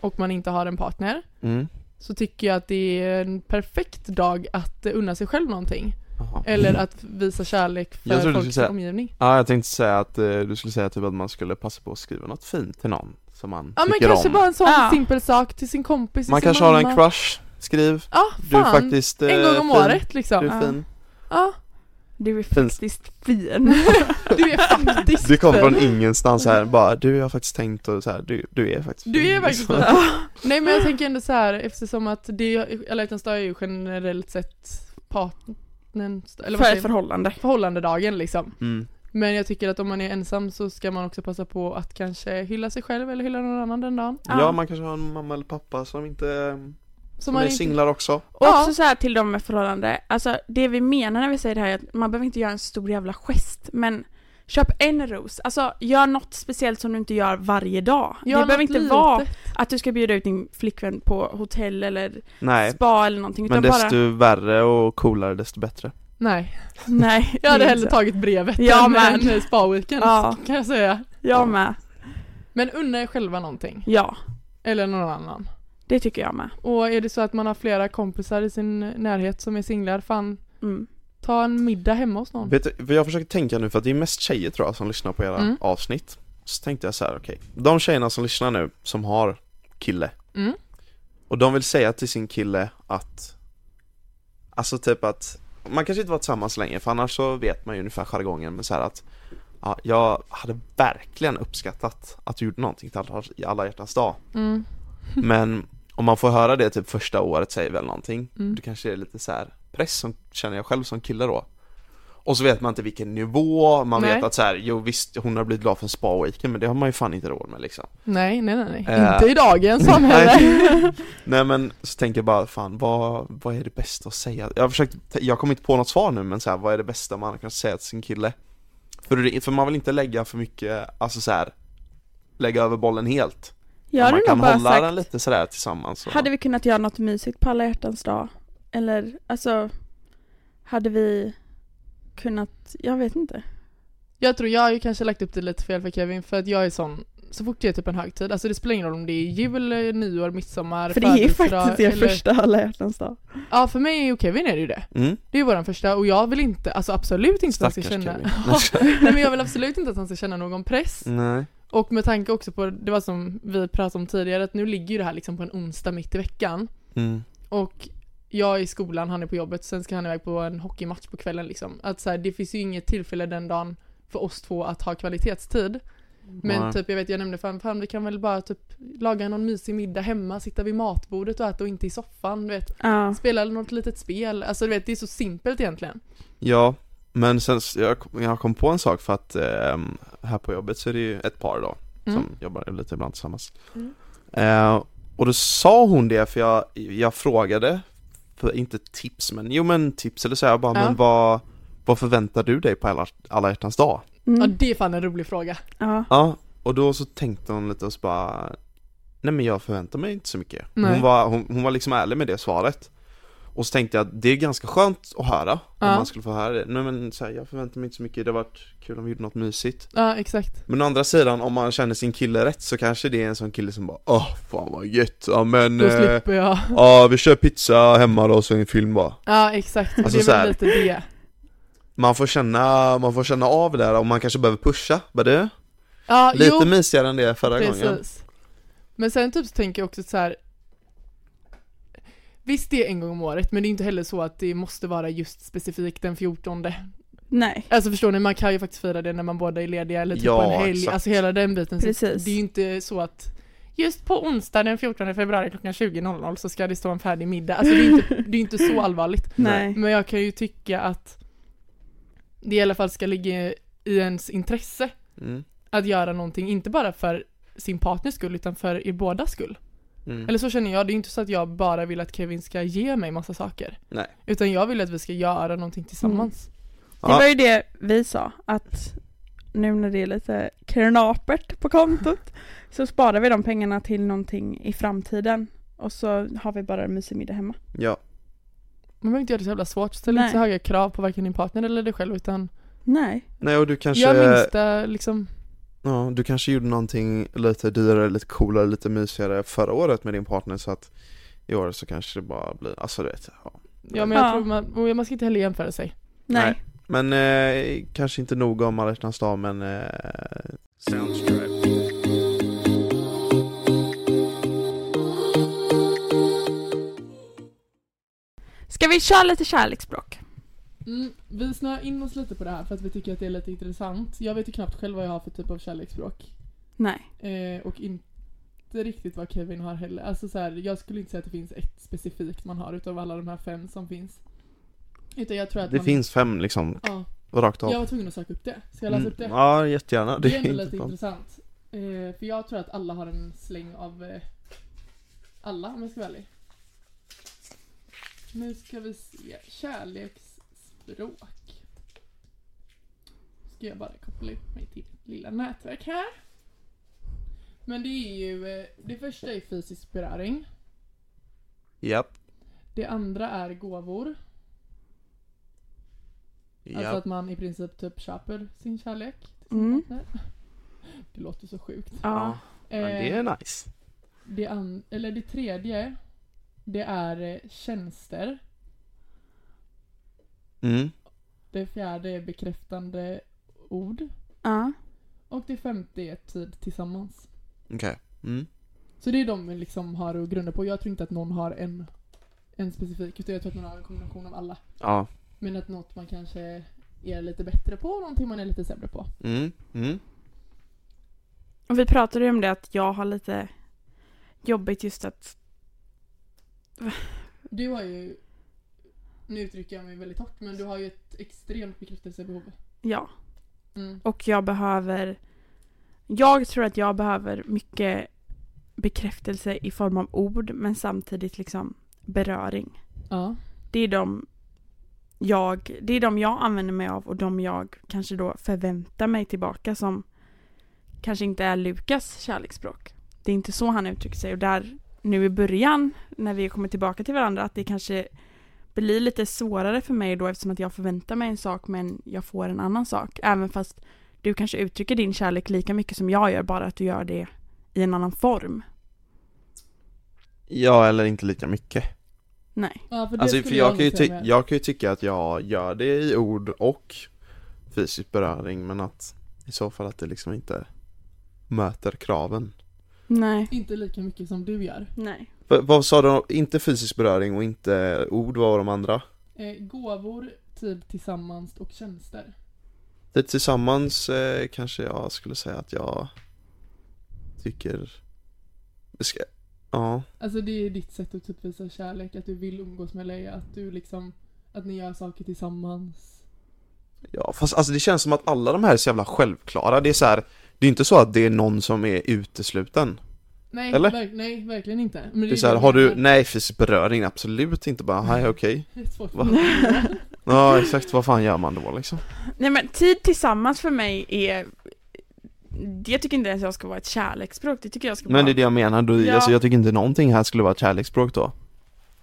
Speaker 3: och man inte har en partner
Speaker 1: Mm.
Speaker 3: så tycker jag att det är en perfekt dag att unna sig själv någonting.
Speaker 1: Jaha.
Speaker 3: Eller att visa kärlek
Speaker 1: Mm. Jag
Speaker 3: för
Speaker 1: trodde du
Speaker 3: folks
Speaker 1: skulle säga-
Speaker 3: omgivning.
Speaker 1: Ja jag tänkte säga att eh, du skulle säga typ att man skulle passa på att skriva något fint till någon som man
Speaker 3: Ja men
Speaker 1: tycker
Speaker 3: kanske
Speaker 1: om
Speaker 3: bara en sån
Speaker 2: Ja.
Speaker 3: simpel sak till sin kompis, till
Speaker 1: Man
Speaker 3: sin
Speaker 1: kanske
Speaker 3: mamma.
Speaker 1: har en crush, skriv
Speaker 3: Ja,
Speaker 1: Du är
Speaker 3: fan.
Speaker 1: faktiskt eh,
Speaker 3: en gång om
Speaker 1: fin.
Speaker 3: året liksom.
Speaker 1: Du
Speaker 2: Ja.
Speaker 1: är fin
Speaker 3: Ja,
Speaker 2: du är
Speaker 1: Finns-
Speaker 2: faktiskt fin.
Speaker 3: du är faktiskt
Speaker 1: Du kommer
Speaker 3: fin.
Speaker 1: från ingenstans här bara, du jag har faktiskt tänkt och så här, du, du är faktiskt
Speaker 3: Du är
Speaker 1: fin,
Speaker 3: faktiskt
Speaker 1: liksom.
Speaker 3: fin. Nej men jag tänker ändå så här eftersom att det, alla hjärtans dag är ju generellt sett partnerns eller vad
Speaker 2: för
Speaker 3: säger man?
Speaker 2: ett förhållande.
Speaker 3: förhållandedagen liksom.
Speaker 1: mm.
Speaker 3: Men jag tycker att om man är ensam så ska man också passa på att kanske hylla sig själv eller hylla någon annan den dagen.
Speaker 1: ja.
Speaker 2: Ja.
Speaker 1: man kanske har en mamma eller pappa som inte, som,
Speaker 3: Så
Speaker 1: är
Speaker 3: man inte...
Speaker 1: singlar också
Speaker 2: Och
Speaker 3: Ja.
Speaker 2: också så här till de med förhållande, alltså det vi menar när vi säger det här är att man behöver inte göra en stor jävla gest, men köp en ros. Alltså gör något speciellt som du inte gör varje dag.
Speaker 3: Ja,
Speaker 2: det behöver
Speaker 3: något
Speaker 2: inte
Speaker 3: litet.
Speaker 2: vara att du ska bjuda ut din flickvän på hotell eller
Speaker 1: Nej,
Speaker 2: spa eller någonting.
Speaker 1: men
Speaker 2: Utan bara,
Speaker 1: desto värre och coolare desto bättre
Speaker 3: Nej,
Speaker 2: nej.
Speaker 3: jag hade
Speaker 2: det är
Speaker 3: hellre
Speaker 2: inte så.
Speaker 3: tagit brevet
Speaker 2: Ja,
Speaker 3: än
Speaker 2: men.
Speaker 3: en spa-weekend
Speaker 2: Ja.
Speaker 3: kan jag säga.
Speaker 2: Jag med.
Speaker 3: Men unna er själva någonting.
Speaker 2: Ja,
Speaker 3: Eller någon annan.
Speaker 2: det tycker jag med.
Speaker 3: Och är det så att man har flera kompisar i sin närhet som är singlar, fan
Speaker 2: Mm.
Speaker 3: ta en middag hemma hos någon.
Speaker 1: Vet du, för jag försöker tänka nu för att det är mest tjejer tror jag som lyssnar på era
Speaker 3: Mm.
Speaker 1: avsnitt Så tänkte jag så här, okej De tjejerna som lyssnar nu, som har kille
Speaker 3: Mm.
Speaker 1: Och de vill säga till sin kille att Alltså typ att Man kanske inte varit tillsammans länge för annars så vet man ju ungefär jargongen men så här att ja, Jag hade verkligen uppskattat att du gjorde någonting till alla, alla hjärtans dag
Speaker 3: Mm.
Speaker 1: Men om man får höra det typ första året säger väl någonting
Speaker 3: Mm.
Speaker 1: Det kanske är lite så här press som känner jag själv som kille då Och så vet man inte vilken nivå, man
Speaker 3: Nej.
Speaker 1: vet att så här, jo visst hon har blivit glad för en spa-weekend men det har man ju fan inte råd med liksom
Speaker 3: Nej, nej, nej, nej.
Speaker 1: Eh.
Speaker 3: Inte i dagens samhälle.
Speaker 1: Nej. Nej men så tänker jag bara fan vad, vad är det bästa att säga? Jag har försökt, jag kommer inte på något svar nu men så här, vad är det bästa man kan säga till sin kille? För, det, för man vill inte lägga för mycket, alltså så här Lägga över bollen helt.
Speaker 2: Jag hade
Speaker 1: man
Speaker 2: nog
Speaker 1: kan
Speaker 2: bara
Speaker 1: hålla den
Speaker 2: sagt,
Speaker 1: lite sådär tillsammans och,
Speaker 2: hade vi kunnat göra något mysigt på alla hjärtans dag? Eller alltså, hade vi kunnat, jag vet inte.
Speaker 3: Jag tror jag har ju kanske lagt upp det lite fel för Kevin för att jag är sån så fort det är typ en högtid, alltså det spelar ingen roll om det är jul, nyår, midsommar,
Speaker 2: För det är ju
Speaker 3: födelsedag
Speaker 2: faktiskt er
Speaker 3: eller-
Speaker 2: första alla hjärtans dag.
Speaker 3: Ja för mig och Kevin är det ju det.
Speaker 1: mm,
Speaker 3: Det är ju våran första och jag vill inte, alltså absolut inte att han
Speaker 1: stackars
Speaker 3: ska känna
Speaker 1: Kevin Mm.
Speaker 3: Nej men jag vill absolut inte att han ska känna någon press
Speaker 1: Nej
Speaker 3: Och med tanke också på, det var som vi pratade om tidigare, att nu ligger ju det här liksom på en onsdag mitt i veckan.
Speaker 1: Mm.
Speaker 3: Och jag är i skolan, han är på jobbet, sen ska han iväg på en hockeymatch på kvällen liksom. Att så här, det finns ju inget tillfälle den dagen för oss två att ha kvalitetstid. Men
Speaker 1: Nej.
Speaker 3: typ jag vet jag nämnde fan, fan vi kan väl bara typ laga någon mysig middag hemma, sitta vid matbordet och äta och inte i soffan du vet.
Speaker 2: Ja.
Speaker 3: Spela något litet spel, alltså du vet det är så simpelt egentligen.
Speaker 1: Ja, men sen s- jag, kom- jag kom på en sak för att ehm, här på jobbet så är det ju ett par då
Speaker 3: Mm.
Speaker 1: som jobbar lite ibland tillsammans.
Speaker 2: Mm.
Speaker 1: Eh, och då sa hon det för jag, jag frågade, för inte tips men jo men tips eller så jag bara
Speaker 3: Ja.
Speaker 1: men vad, vad förväntar du dig på alla, alla hjärtans dag?
Speaker 3: Ja
Speaker 2: Mm.
Speaker 3: det är fan en rolig fråga.
Speaker 2: Ja.
Speaker 1: Ja, och då så tänkte hon lite och så bara Nej men jag förväntar mig inte så mycket.
Speaker 3: Nej.
Speaker 1: Hon var, hon, hon var liksom ärlig med det svaret. Och så tänkte jag att det är ganska skönt att höra om
Speaker 3: Ja.
Speaker 1: man skulle få höra det. Nej men så här, jag förväntar mig inte så mycket, det har varit kul om vi gjorde något mysigt.
Speaker 3: Ja exakt.
Speaker 1: Men å andra sidan om man känner sin kille rätt så kanske det är en sån kille som bara Åh fan vad gött, ja men
Speaker 3: Då
Speaker 1: eh,
Speaker 3: slipper jag.
Speaker 1: ja vi kör pizza hemma då och så en film bara.
Speaker 3: Ja exakt,
Speaker 1: Alltså,
Speaker 3: det
Speaker 1: så
Speaker 3: är
Speaker 1: här.
Speaker 3: väl lite det.
Speaker 1: Man får känna, man får känna av det där och man kanske behöver pusha, bara du?
Speaker 3: Ja
Speaker 1: Lite
Speaker 3: jo,
Speaker 1: mysigare än det förra gången.
Speaker 3: precis. Men sen typ så tänker jag också så här. Visst det är en gång om året men det är inte heller så att det måste vara just specifikt den 14
Speaker 2: Nej.
Speaker 3: Alltså förstår ni, man kan ju faktiskt fira det när man båda är lediga eller typ
Speaker 1: Ja,
Speaker 3: på en helg,
Speaker 1: exakt.
Speaker 3: alltså hela den biten. Så
Speaker 2: Precis.
Speaker 3: Det är ju inte så att just på onsdag den 14 februari klockan 20.00 så ska det stå en färdig middag. Alltså det är ju inte, det är ju inte så allvarligt.
Speaker 2: Nej.
Speaker 3: Men jag kan ju tycka att det i alla fall ska ligga i ens intresse
Speaker 1: Mm.
Speaker 3: att göra någonting, inte bara för sin partners skull utan för er bådas skull.
Speaker 1: Mm.
Speaker 3: Eller så känner jag, det är ju inte så att jag bara vill att Kevin ska ge mig massa saker.
Speaker 1: Nej.
Speaker 3: Utan jag vill att vi ska göra någonting tillsammans.
Speaker 2: Det var ju det vi sa att nu när det är lite knapert på kontot så sparar vi de pengarna till någonting i framtiden och så har vi bara en mysig middag hemma.
Speaker 1: Ja,
Speaker 3: Man behöver inte göra det så jävla svårt, ställ inte
Speaker 2: Nej.
Speaker 3: så höga krav på varken din partner eller dig själv utan
Speaker 2: Nej.
Speaker 1: nej och du kanske,
Speaker 3: gör minsta liksom,
Speaker 1: ja, du kanske gjorde någonting lite dyrare, lite coolare, lite mysigare förra året med din partner så att i år så kanske det bara blir, alltså du vet, ja.
Speaker 3: ja men jag
Speaker 2: Ja.
Speaker 3: tror man, och man ska inte heller jämföra sig.
Speaker 2: Nej.
Speaker 1: Nej. Men eh, kanske inte nog om alla hjärtans dag men eh,
Speaker 4: Soundstripe.
Speaker 2: Ska vi köra lite kärleksspråk?
Speaker 3: Mm, vi snöar in oss lite på det här för att vi tycker att det är lite intressant. Jag vet ju knappt själv vad jag har för typ av kärleksspråk.
Speaker 2: Nej.
Speaker 3: Eh, och inte riktigt vad Kevin har heller. Alltså så här, jag skulle inte säga att det finns ett specifikt man har utav alla de här fem som finns. Utan jag tror att
Speaker 1: det
Speaker 3: man,
Speaker 1: finns fem liksom,
Speaker 3: Ja,
Speaker 1: rakt av.
Speaker 3: jag var tvungen att söka upp det. Ska jag läsa upp det?
Speaker 1: Mm, ja, jättegärna.
Speaker 3: Det
Speaker 1: Det
Speaker 3: är
Speaker 1: är
Speaker 3: ändå
Speaker 1: inte
Speaker 3: lite
Speaker 1: fan.
Speaker 3: intressant. Eh, för jag tror att alla har en släng av eh, alla om jag ska vara ärlig. Nu ska vi se. Kärleksspråk. Ska jag bara koppla upp mig till mitt lilla nätverk här. Men det är ju, eh, det första är fysisk beröring.
Speaker 1: Japp,
Speaker 3: Det andra är gåvor. Alltså
Speaker 1: japp.
Speaker 3: att man i princip typ köper sin kärlek. till sin
Speaker 2: Mm.
Speaker 3: partner. Det låter så sjukt.
Speaker 2: Ja.
Speaker 1: Ja, men det
Speaker 3: Eh,
Speaker 1: är nice.
Speaker 3: Det, an- eller det tredje, det är eh, tjänster.
Speaker 1: Mm.
Speaker 3: Det fjärde är bekräftande ord.
Speaker 2: Ja.
Speaker 3: Och det femte är tid tillsammans.
Speaker 1: Okej. Mm.
Speaker 3: Så det är de vi liksom har att grunda på. Jag tror inte att någon har en, en specifik, utan jag tror att man har en kombination av alla.
Speaker 1: Ja.
Speaker 3: Men att något man kanske är lite bättre på och någonting man är lite sämre på.
Speaker 1: Mm. Mm.
Speaker 2: Och vi pratade ju om det att jag har lite jobbigt just att
Speaker 3: Du har ju, nu uttrycker jag mig väldigt hårt, men du har ju ett extremt bekräftelsebehov.
Speaker 2: ja,
Speaker 3: Mm.
Speaker 2: och jag behöver jag tror att jag behöver mycket bekräftelse i form av ord men samtidigt liksom beröring.
Speaker 3: Ja.
Speaker 2: det är de jag, det är de jag använder mig av och de jag kanske då förväntar mig tillbaka som kanske inte är Lukas kärleksspråk. Det är inte så han uttrycker sig och där nu i början när vi kommer tillbaka till varandra att det kanske blir lite svårare för mig då eftersom att jag förväntar mig en sak men jag får en annan sak. Även fast du kanske uttrycker din kärlek lika mycket som jag gör bara att du gör det i en annan form.
Speaker 1: Ja, eller inte lika mycket.
Speaker 2: Nej.
Speaker 3: ja för det
Speaker 1: Alltså,
Speaker 3: skulle
Speaker 1: för jag, kan ju
Speaker 3: nog säga
Speaker 1: ty-
Speaker 3: med.
Speaker 1: jag kan ju tycka att jag gör det i ord och fysisk beröring men att i så fall att det liksom inte möter kraven.
Speaker 2: Nej.
Speaker 3: Inte lika mycket som du gör.
Speaker 2: Nej.
Speaker 1: V- vad sa du? Inte fysisk beröring och inte ord, vad var de andra?
Speaker 3: Eh, gåvor, tid tillsammans och typ, tjänster.
Speaker 1: Det tillsammans eh, kanske jag skulle säga att jag tycker ska, Ja,
Speaker 3: Alltså det är ditt sätt att typ visa kärlek, att du vill umgås med Leia, att du liksom, att ni gör saker tillsammans.
Speaker 1: ja fast alltså det känns som att alla de här är så jävla självklara. Det är så här, det är inte så att det är någon som är utesluten.
Speaker 3: Nej,
Speaker 1: Eller?
Speaker 3: verk- nej verkligen inte. Men
Speaker 1: Det
Speaker 3: är
Speaker 1: är så här,
Speaker 3: det
Speaker 1: har du,
Speaker 3: jag
Speaker 1: nej fysisk beröring, absolut inte bara, hej okej.
Speaker 3: menar. Det är svårt för
Speaker 1: Va?
Speaker 3: mig.
Speaker 1: Ja exakt, vad fan gör man då liksom?
Speaker 2: Nej men tid tillsammans för mig är Det tycker inte ens jag ska vara ett kärleksspråk, det tycker jag ska vara
Speaker 1: Men det är det jag menar, då,
Speaker 2: Ja.
Speaker 1: alltså, jag tycker inte någonting här skulle vara ett kärleksspråk då.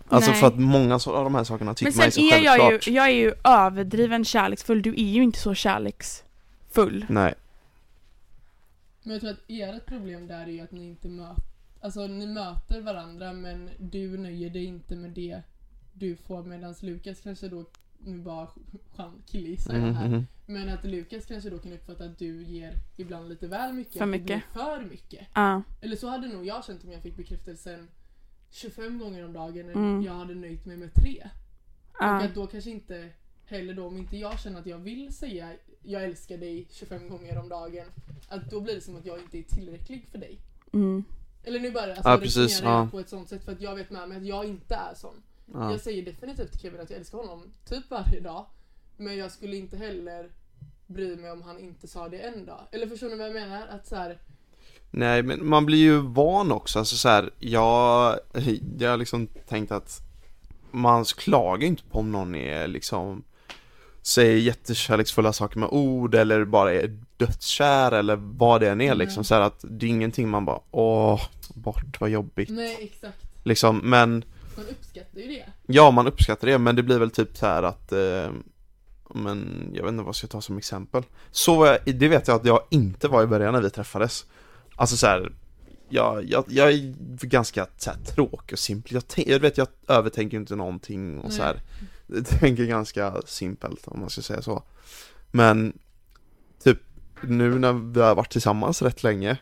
Speaker 1: Alltså
Speaker 2: Nej.
Speaker 1: för att många så- av de här sakerna
Speaker 2: Men
Speaker 1: tycker man är så
Speaker 2: sen är jag
Speaker 1: självklart.
Speaker 2: ju, jag är ju överdriven kärleksfull, du är ju inte så kärleksfull
Speaker 1: Nej,
Speaker 3: Men jag tror att ert problem där är ju att ni inte möter, alltså ni möter varandra men du nöjer dig inte med det du får medan Lukas kanske då, nu bara chan- killgissar jag
Speaker 1: mhm,
Speaker 3: här.
Speaker 1: mhm.
Speaker 3: Men att Lukas kanske då kan uppfatta att du ger ibland lite väl mycket.
Speaker 2: För
Speaker 3: att det
Speaker 2: mycket.
Speaker 3: blir För mycket.
Speaker 2: Ja,
Speaker 3: Eller så hade nog jag känt om jag fick bekräftelsen 25 gånger om dagen när
Speaker 2: Mm.
Speaker 3: jag hade nöjt mig med tre. Och
Speaker 2: ja,
Speaker 3: att då kanske inte heller då om inte jag känner att jag vill säga jag älskar dig 25 gånger om dagen. Att då blir det som att jag inte är tillräcklig för dig.
Speaker 2: mm,
Speaker 3: Eller nu bara alltså,
Speaker 1: Ja,
Speaker 3: jag
Speaker 1: precis,
Speaker 3: resonerar
Speaker 1: ja.
Speaker 3: på ett sånt sätt för att jag vet med mig att jag inte är sån.
Speaker 1: ja.
Speaker 3: Jag säger definitivt till Kevin att jag älskar honom typ varje dag. Men jag skulle inte heller bry mig om han inte sa det en dag. Eller förstår ni vad jag menar? Att så här,
Speaker 1: Nej men man blir ju van också, alltså så här, jag, jag har liksom tänkt att man klagar inte på om någon är liksom Säger jättekärleksfulla saker med ord eller bara är dödskär eller vad det än är liksom
Speaker 3: Mm.
Speaker 1: så här att det är ingenting man bara åh, bort vad jobbigt
Speaker 3: nej exakt.
Speaker 1: liksom men
Speaker 3: Man uppskattar ju det.
Speaker 1: ja man uppskattar det men det blir väl typ så här att eh, men jag vet inte vad jag ska ta som exempel. Så var jag, det vet jag att jag inte var i början när vi träffades. Alltså så här, jag, jag, jag är ganska så här, tråkig och simpel. Jag, tän- jag vet, jag övertänker inte någonting och så här. Jag tänker ganska simpelt om man ska säga så. Men typ nu när vi har varit tillsammans rätt länge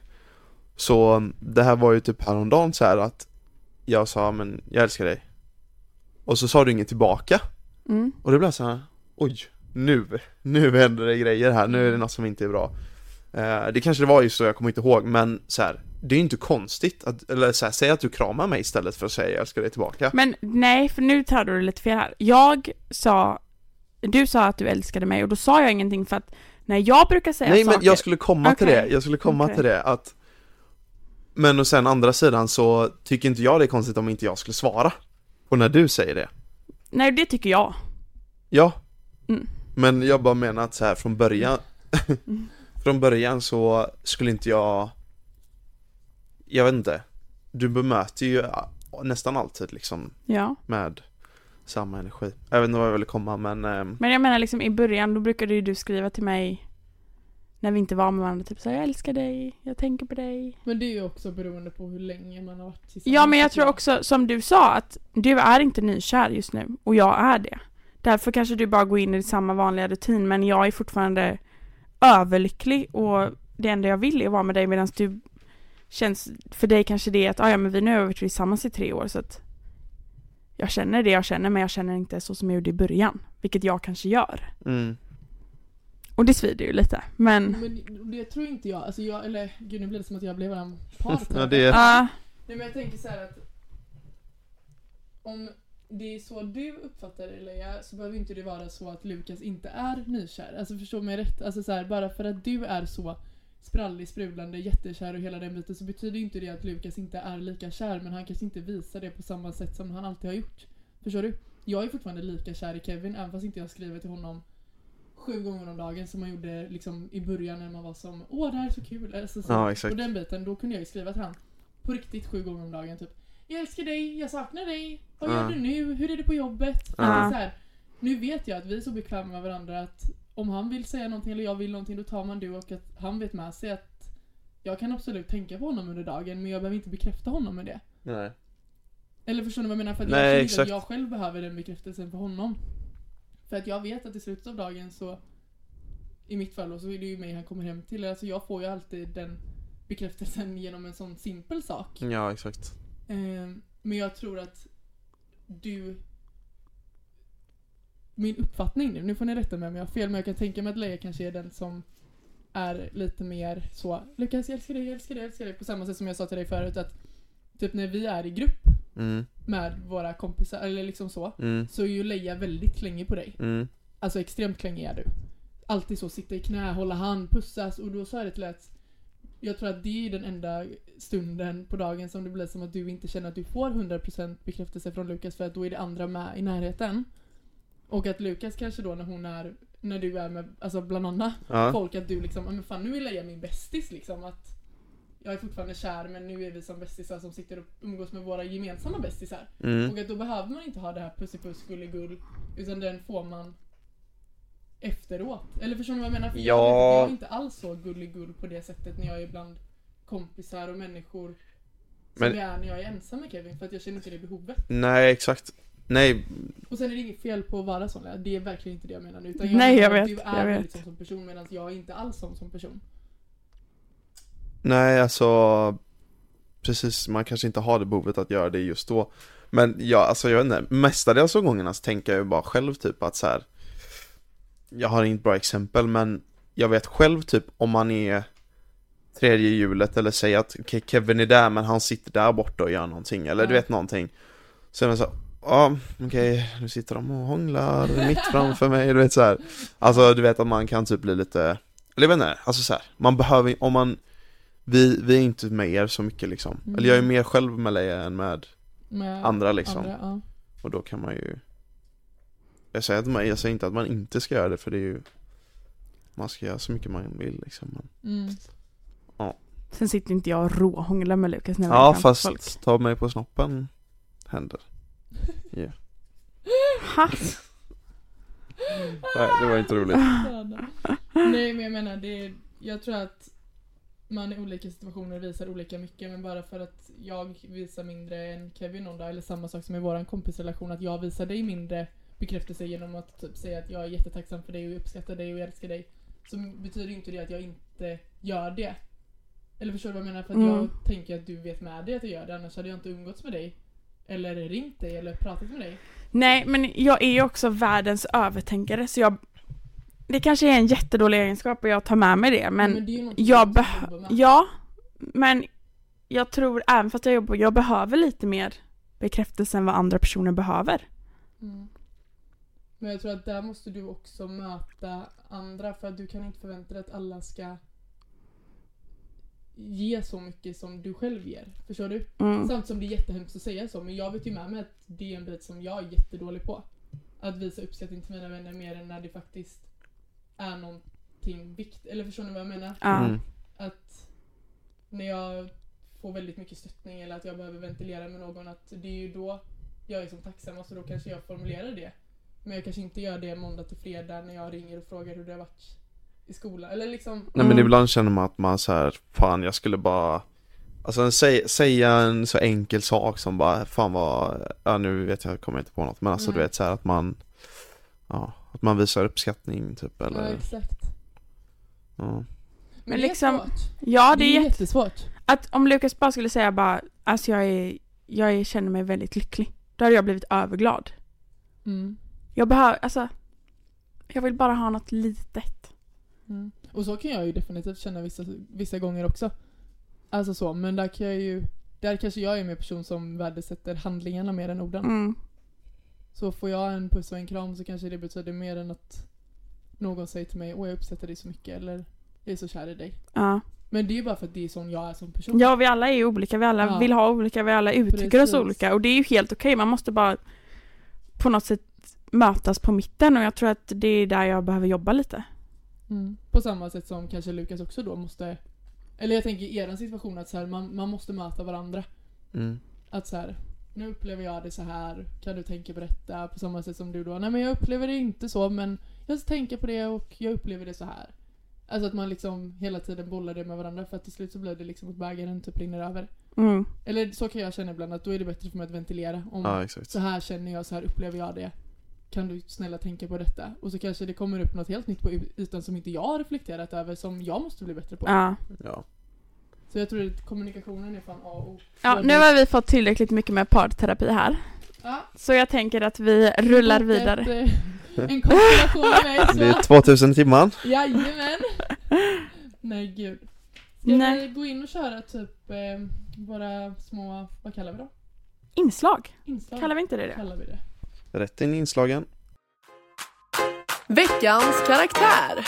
Speaker 1: så det här var ju typ häromdagen så här att jag sa men jag älskar dig. Och så sa du inget tillbaka.
Speaker 2: mm.
Speaker 1: Och det blev så här, oj, nu, nu händer det grejer här, nu är det något som inte är bra. Eh, det kanske det var just så, jag kommer inte ihåg, men så här, det är ju inte konstigt att, eller så här, säg att du kramar mig istället för att säga jag älskar dig tillbaka.
Speaker 2: Men nej, för nu tar du det lite fel här Jag sa Du sa att du älskade mig och då sa jag ingenting för att När jag brukar säga
Speaker 1: Nej,
Speaker 2: saker
Speaker 1: men jag skulle komma till
Speaker 2: Okej.
Speaker 1: det, jag skulle komma
Speaker 2: Okej.
Speaker 1: till det att Men och sen andra sidan så tycker inte jag det är konstigt om inte jag skulle svara. Och när du säger det,
Speaker 2: Nej, det tycker jag
Speaker 1: ja.
Speaker 2: Mm.
Speaker 1: Men jag bara menar att så här från början
Speaker 2: Mm.
Speaker 1: Från början så skulle inte jag Jag vet inte Du bemöter ju nästan alltid liksom
Speaker 2: Ja,
Speaker 1: med samma energi Jag vet inte vad jag ville komma men ehm,
Speaker 2: men jag menar liksom i början då brukade ju du skriva till mig När vi inte var med varandra, typ så här, jag älskar dig, jag tänker på dig
Speaker 3: Men det är ju också beroende på hur länge man har varit tillsammans.
Speaker 2: Ja men jag tror också som du sa att du är inte nykär just nu och jag är det. Därför kanske du bara går in i samma vanliga rutin men jag är fortfarande överlycklig och det enda jag vill är vara med dig medan du känns, för dig kanske det är att ah, ja men vi nu har varit tillsammans i tre år så att jag känner det jag känner men jag känner inte så som jag gjorde i början. Vilket jag kanske gör.
Speaker 1: mm,
Speaker 2: Och det svider ju lite men
Speaker 3: Men det tror inte jag. Alltså jag, eller gud nu blir det som att jag blev en part.
Speaker 1: Ja, det är-
Speaker 2: ja,
Speaker 3: Nej men jag tänker så här att om det är så du uppfattar det Leia så behöver inte det vara så att Lukas inte är nykär. Alltså förstå mig rätt. Alltså så här, bara för att du är så sprallig, sprudlande, jättekär och hela den biten så betyder inte det att Lukas inte är lika kär men han kanske inte visar det på samma sätt som han alltid har gjort. Förstår du? Jag är fortfarande lika kär i Kevin även fast inte jag skriver till honom sju gånger om dagen som man gjorde liksom i början när man var som åh det här är så kul. Alltså, så,
Speaker 1: ja exakt
Speaker 3: och den biten, då kunde jag ju skriva till han på riktigt sju gånger om dagen typ. Jag älskar dig, jag saknar dig, vad gör
Speaker 1: Ja.
Speaker 3: du nu, hur är det på jobbet?
Speaker 1: Ja.
Speaker 3: Alltså, så här, nu vet jag att vi är så bekväma med varandra att om han vill säga någonting eller jag vill någonting då tar man det och att han vet med sig att jag kan absolut tänka på honom under dagen men jag behöver inte bekräfta honom med det.
Speaker 1: Nej
Speaker 3: Eller förstår ni vad jag menar? För att
Speaker 1: Nej,
Speaker 3: jag känner inte
Speaker 1: exakt.
Speaker 3: att jag själv behöver den bekräftelsen för honom. För att jag vet att i slutet av dagen så, i mitt fall då, så är det ju mig han kommer hem till. Alltså jag får ju alltid den bekräftelsen genom en sån simpel sak.
Speaker 1: Ja exakt
Speaker 3: Ehm, Eh, men jag tror att du min uppfattning nu, nu får ni rätta mig om jag har fel, men jag kan tänka mig att Leia kanske är den som är lite mer så Lukas jag älskar dig, jag älskar dig, jag älskar dig på samma sätt som jag sa till dig förut att typ när vi är i grupp
Speaker 1: Mm,
Speaker 3: med våra kompisar eller liksom så
Speaker 1: mm,
Speaker 3: så är ju Leia väldigt klängig på dig.
Speaker 1: mm.
Speaker 3: Alltså extremt klängig är du. Alltid så, sitta i knä, hålla hand, pussas och då sa jag det till att jag tror att det är den enda stunden på dagen som det blir som att du inte känner att du får 100% bekräftelse från Lukas för att då är det andra med i närheten. Och att Lukas kanske då när hon är, när du är med, alltså bland annat
Speaker 1: Ja,
Speaker 3: folk att du liksom, "Ja, men fan nu är Leia min bästis liksom att jag är fortfarande kär men nu är vi som bästisar som sitter och umgås med våra gemensamma bästisar.
Speaker 1: mm,
Speaker 3: Och att då behöver man inte ha det här pussipuss gulligull utan den får man efteråt. Eller förstår ni vad jag menar? För jag
Speaker 1: Ja.
Speaker 3: vet att jag är inte alls så gulligull på det sättet när jag är bland kompisar och människor som
Speaker 1: Men-
Speaker 3: jag är när jag är ensam med Kevin för att jag känner inte det behovet.
Speaker 1: nej exakt. Nej,
Speaker 3: Och sen är det inget fel på att vara sån Lea. det är verkligen inte det jag menar nu. Utan
Speaker 2: Nej,
Speaker 3: menar
Speaker 2: jag
Speaker 3: att
Speaker 2: vet,
Speaker 3: Du är
Speaker 2: jag
Speaker 3: väldigt sån
Speaker 2: vet.
Speaker 3: som person medan jag är inte alls sån som person.
Speaker 1: nej alltså. Precis, man kanske inte har det behovet att göra det just då. Men ja, alltså jag vet inte, mestadels av gångerna så tänker jag ju bara själv typ att så här. Jag har inget bra exempel men jag vet själv typ om man är tredje hjulet eller säger att okej, Kevin är där men han sitter där borta och gör någonting eller du
Speaker 3: Ja.
Speaker 1: vet någonting. Så är man så här, ja okej, nu sitter de och hånglar mitt framför mig, du vet så här. Alltså du vet att man kan typ bli lite, eller jag vet inte, alltså så här, man behöver, om man, vi, vi är inte med er så mycket liksom.
Speaker 3: Mm.
Speaker 1: Eller jag är mer själv med Leia än med
Speaker 3: Med
Speaker 1: andra liksom.
Speaker 3: andra, ja.
Speaker 1: Och då kan man ju jag säger, att man, jag säger inte att man inte ska göra det för det är ju Man ska göra så mycket man vill liksom men,
Speaker 3: Mm.
Speaker 2: Sen sitter inte jag och råhånglar med Lukas när vi är
Speaker 1: Ja
Speaker 2: framför
Speaker 1: fast
Speaker 2: folk.
Speaker 1: ta mig på snoppen händer
Speaker 2: Ha!
Speaker 1: Nej det var inte roligt
Speaker 3: Städa. Nej men jag menar det är, Jag tror att man i olika situationer visar olika mycket men bara för att jag visar mindre än Kevin någon dag eller samma sak som i våran kompisrelation att jag visar dig mindre bekräftelse genom att typ säga att jag är jättetacksam för dig och jag uppskattar dig och jag älskar dig så betyder inte det att jag inte gör det. Eller förstår du vad jag menar? För att jag
Speaker 2: Mm.
Speaker 3: tänker att du vet med dig att jag gör det annars hade jag inte umgåtts med dig eller ringt dig eller pratat med dig.
Speaker 2: Nej, men jag är ju också världens övertänkare så jag Det kanske är en jättedålig egenskap och jag tar med mig det men
Speaker 3: det är ju något
Speaker 2: jag
Speaker 3: som
Speaker 2: behö-
Speaker 3: jobbar med.
Speaker 2: Ja, men jag tror även fast jag jobbar, jag behöver lite mer bekräftelse än vad andra personer behöver.
Speaker 3: Mm. Men jag tror att där måste du också möta andra för att du kan inte förvänta dig att alla ska ge så mycket som du själv ger. Förstår du?
Speaker 2: Mm.
Speaker 3: Samt som det är jättehemskt att säga så men jag vet ju med mig att det är en bit som jag är jättedålig på. Att visa uppskattning till mina vänner mer än när det faktiskt är någonting vikt. Eller förstår ni vad jag menar?
Speaker 2: Ja.
Speaker 1: mm.
Speaker 3: att när jag får väldigt mycket stöttning eller att jag behöver ventilera med någon att det är ju då jag är som tacksammast och då kanske jag formulerar det. Men jag kanske inte gör det måndag till fredag när jag ringer och frågar hur det har varit i skolan. Eller liksom,
Speaker 1: Nej men
Speaker 2: Mm.
Speaker 1: ibland känner man att man så här, fan jag skulle bara Alltså en, sä, säga en så enkel sak som bara, fan vad, ja nu vet jag, kommer jag inte på något men alltså du
Speaker 3: Nej.
Speaker 1: vet så här att man Ja, att man visar uppskattning typ
Speaker 3: ja
Speaker 1: eller
Speaker 3: exakt.
Speaker 1: ja.
Speaker 3: Men,
Speaker 2: Men
Speaker 3: det
Speaker 2: liksom-
Speaker 3: är svårt.
Speaker 2: Ja, det är jätte...
Speaker 3: jättesvårt.
Speaker 2: Att om Lukas bara skulle säga bara, alltså jag, är, jag är, känner mig väldigt lycklig. Då hade jag blivit överglad.
Speaker 3: Mm.
Speaker 2: Jag behöver, alltså Jag vill bara ha något litet.
Speaker 3: Mm. Och så kan jag ju definitivt känna vissa, vissa gånger också. Alltså så, men där kan jag ju där kanske jag är mer person som värdesätter handlingarna mer än orden.
Speaker 2: Mm.
Speaker 3: Så får jag en puss och en kram så kanske det betyder mer än att någon säger till mig åh jag uppskattar dig så mycket eller jag är så kär i dig.
Speaker 2: Ja.
Speaker 3: Men det är ju bara för att det är sån jag är som person.
Speaker 2: ja, vi alla är ju olika, vi alla
Speaker 3: Ja.
Speaker 2: vill ha olika, vi alla uttrycker
Speaker 3: Precis.
Speaker 2: oss olika och det är ju helt okej, man måste bara på något sätt mötas på mitten och jag tror att det är där jag behöver jobba lite.
Speaker 3: Mm. På samma sätt som kanske Lukas också då måste, eller jag tänker i er situation att så här, man, man måste möta varandra.
Speaker 1: Mm.
Speaker 3: Att så här, nu upplever jag det så här, kan du tänka på detta? På samma sätt som du då, nej men jag upplever det inte så men jag tänker på det och jag upplever det så här. Alltså att man liksom hela tiden bollar det med varandra för att till slut så blir det liksom att bägaren typ rinner över.
Speaker 2: Mm.
Speaker 3: Eller så kan jag känna ibland att då är det bättre för mig att ventilera. Om
Speaker 1: ja exakt
Speaker 3: så här känner jag, så här upplever jag det. Kan du snälla tänka på detta? Och så kanske det kommer upp något helt nytt på ytan som inte jag har reflekterat över som jag måste bli bättre på.
Speaker 2: Ja.
Speaker 1: Ja,
Speaker 3: Så jag tror att kommunikationen är fan A och O.
Speaker 2: ja, nu har vi fått tillräckligt mycket med parterapi här.
Speaker 3: Ja,
Speaker 2: Så jag tänker att vi rullar
Speaker 3: fortsätt,
Speaker 2: vidare.
Speaker 3: Ah, eh, En konstellation med mig
Speaker 1: Det är
Speaker 3: så,
Speaker 1: 2000 i timmen.
Speaker 3: jajamän. Nej gud. Ska
Speaker 2: Nej.
Speaker 3: vi gå in och köra typ eh, våra små, vad kallar vi dem?
Speaker 2: Inslag,
Speaker 3: Inslag?
Speaker 2: kallar vi inte det det?
Speaker 3: kallar vi det.
Speaker 1: Rätt in i inslagen.
Speaker 5: Veckans karaktär.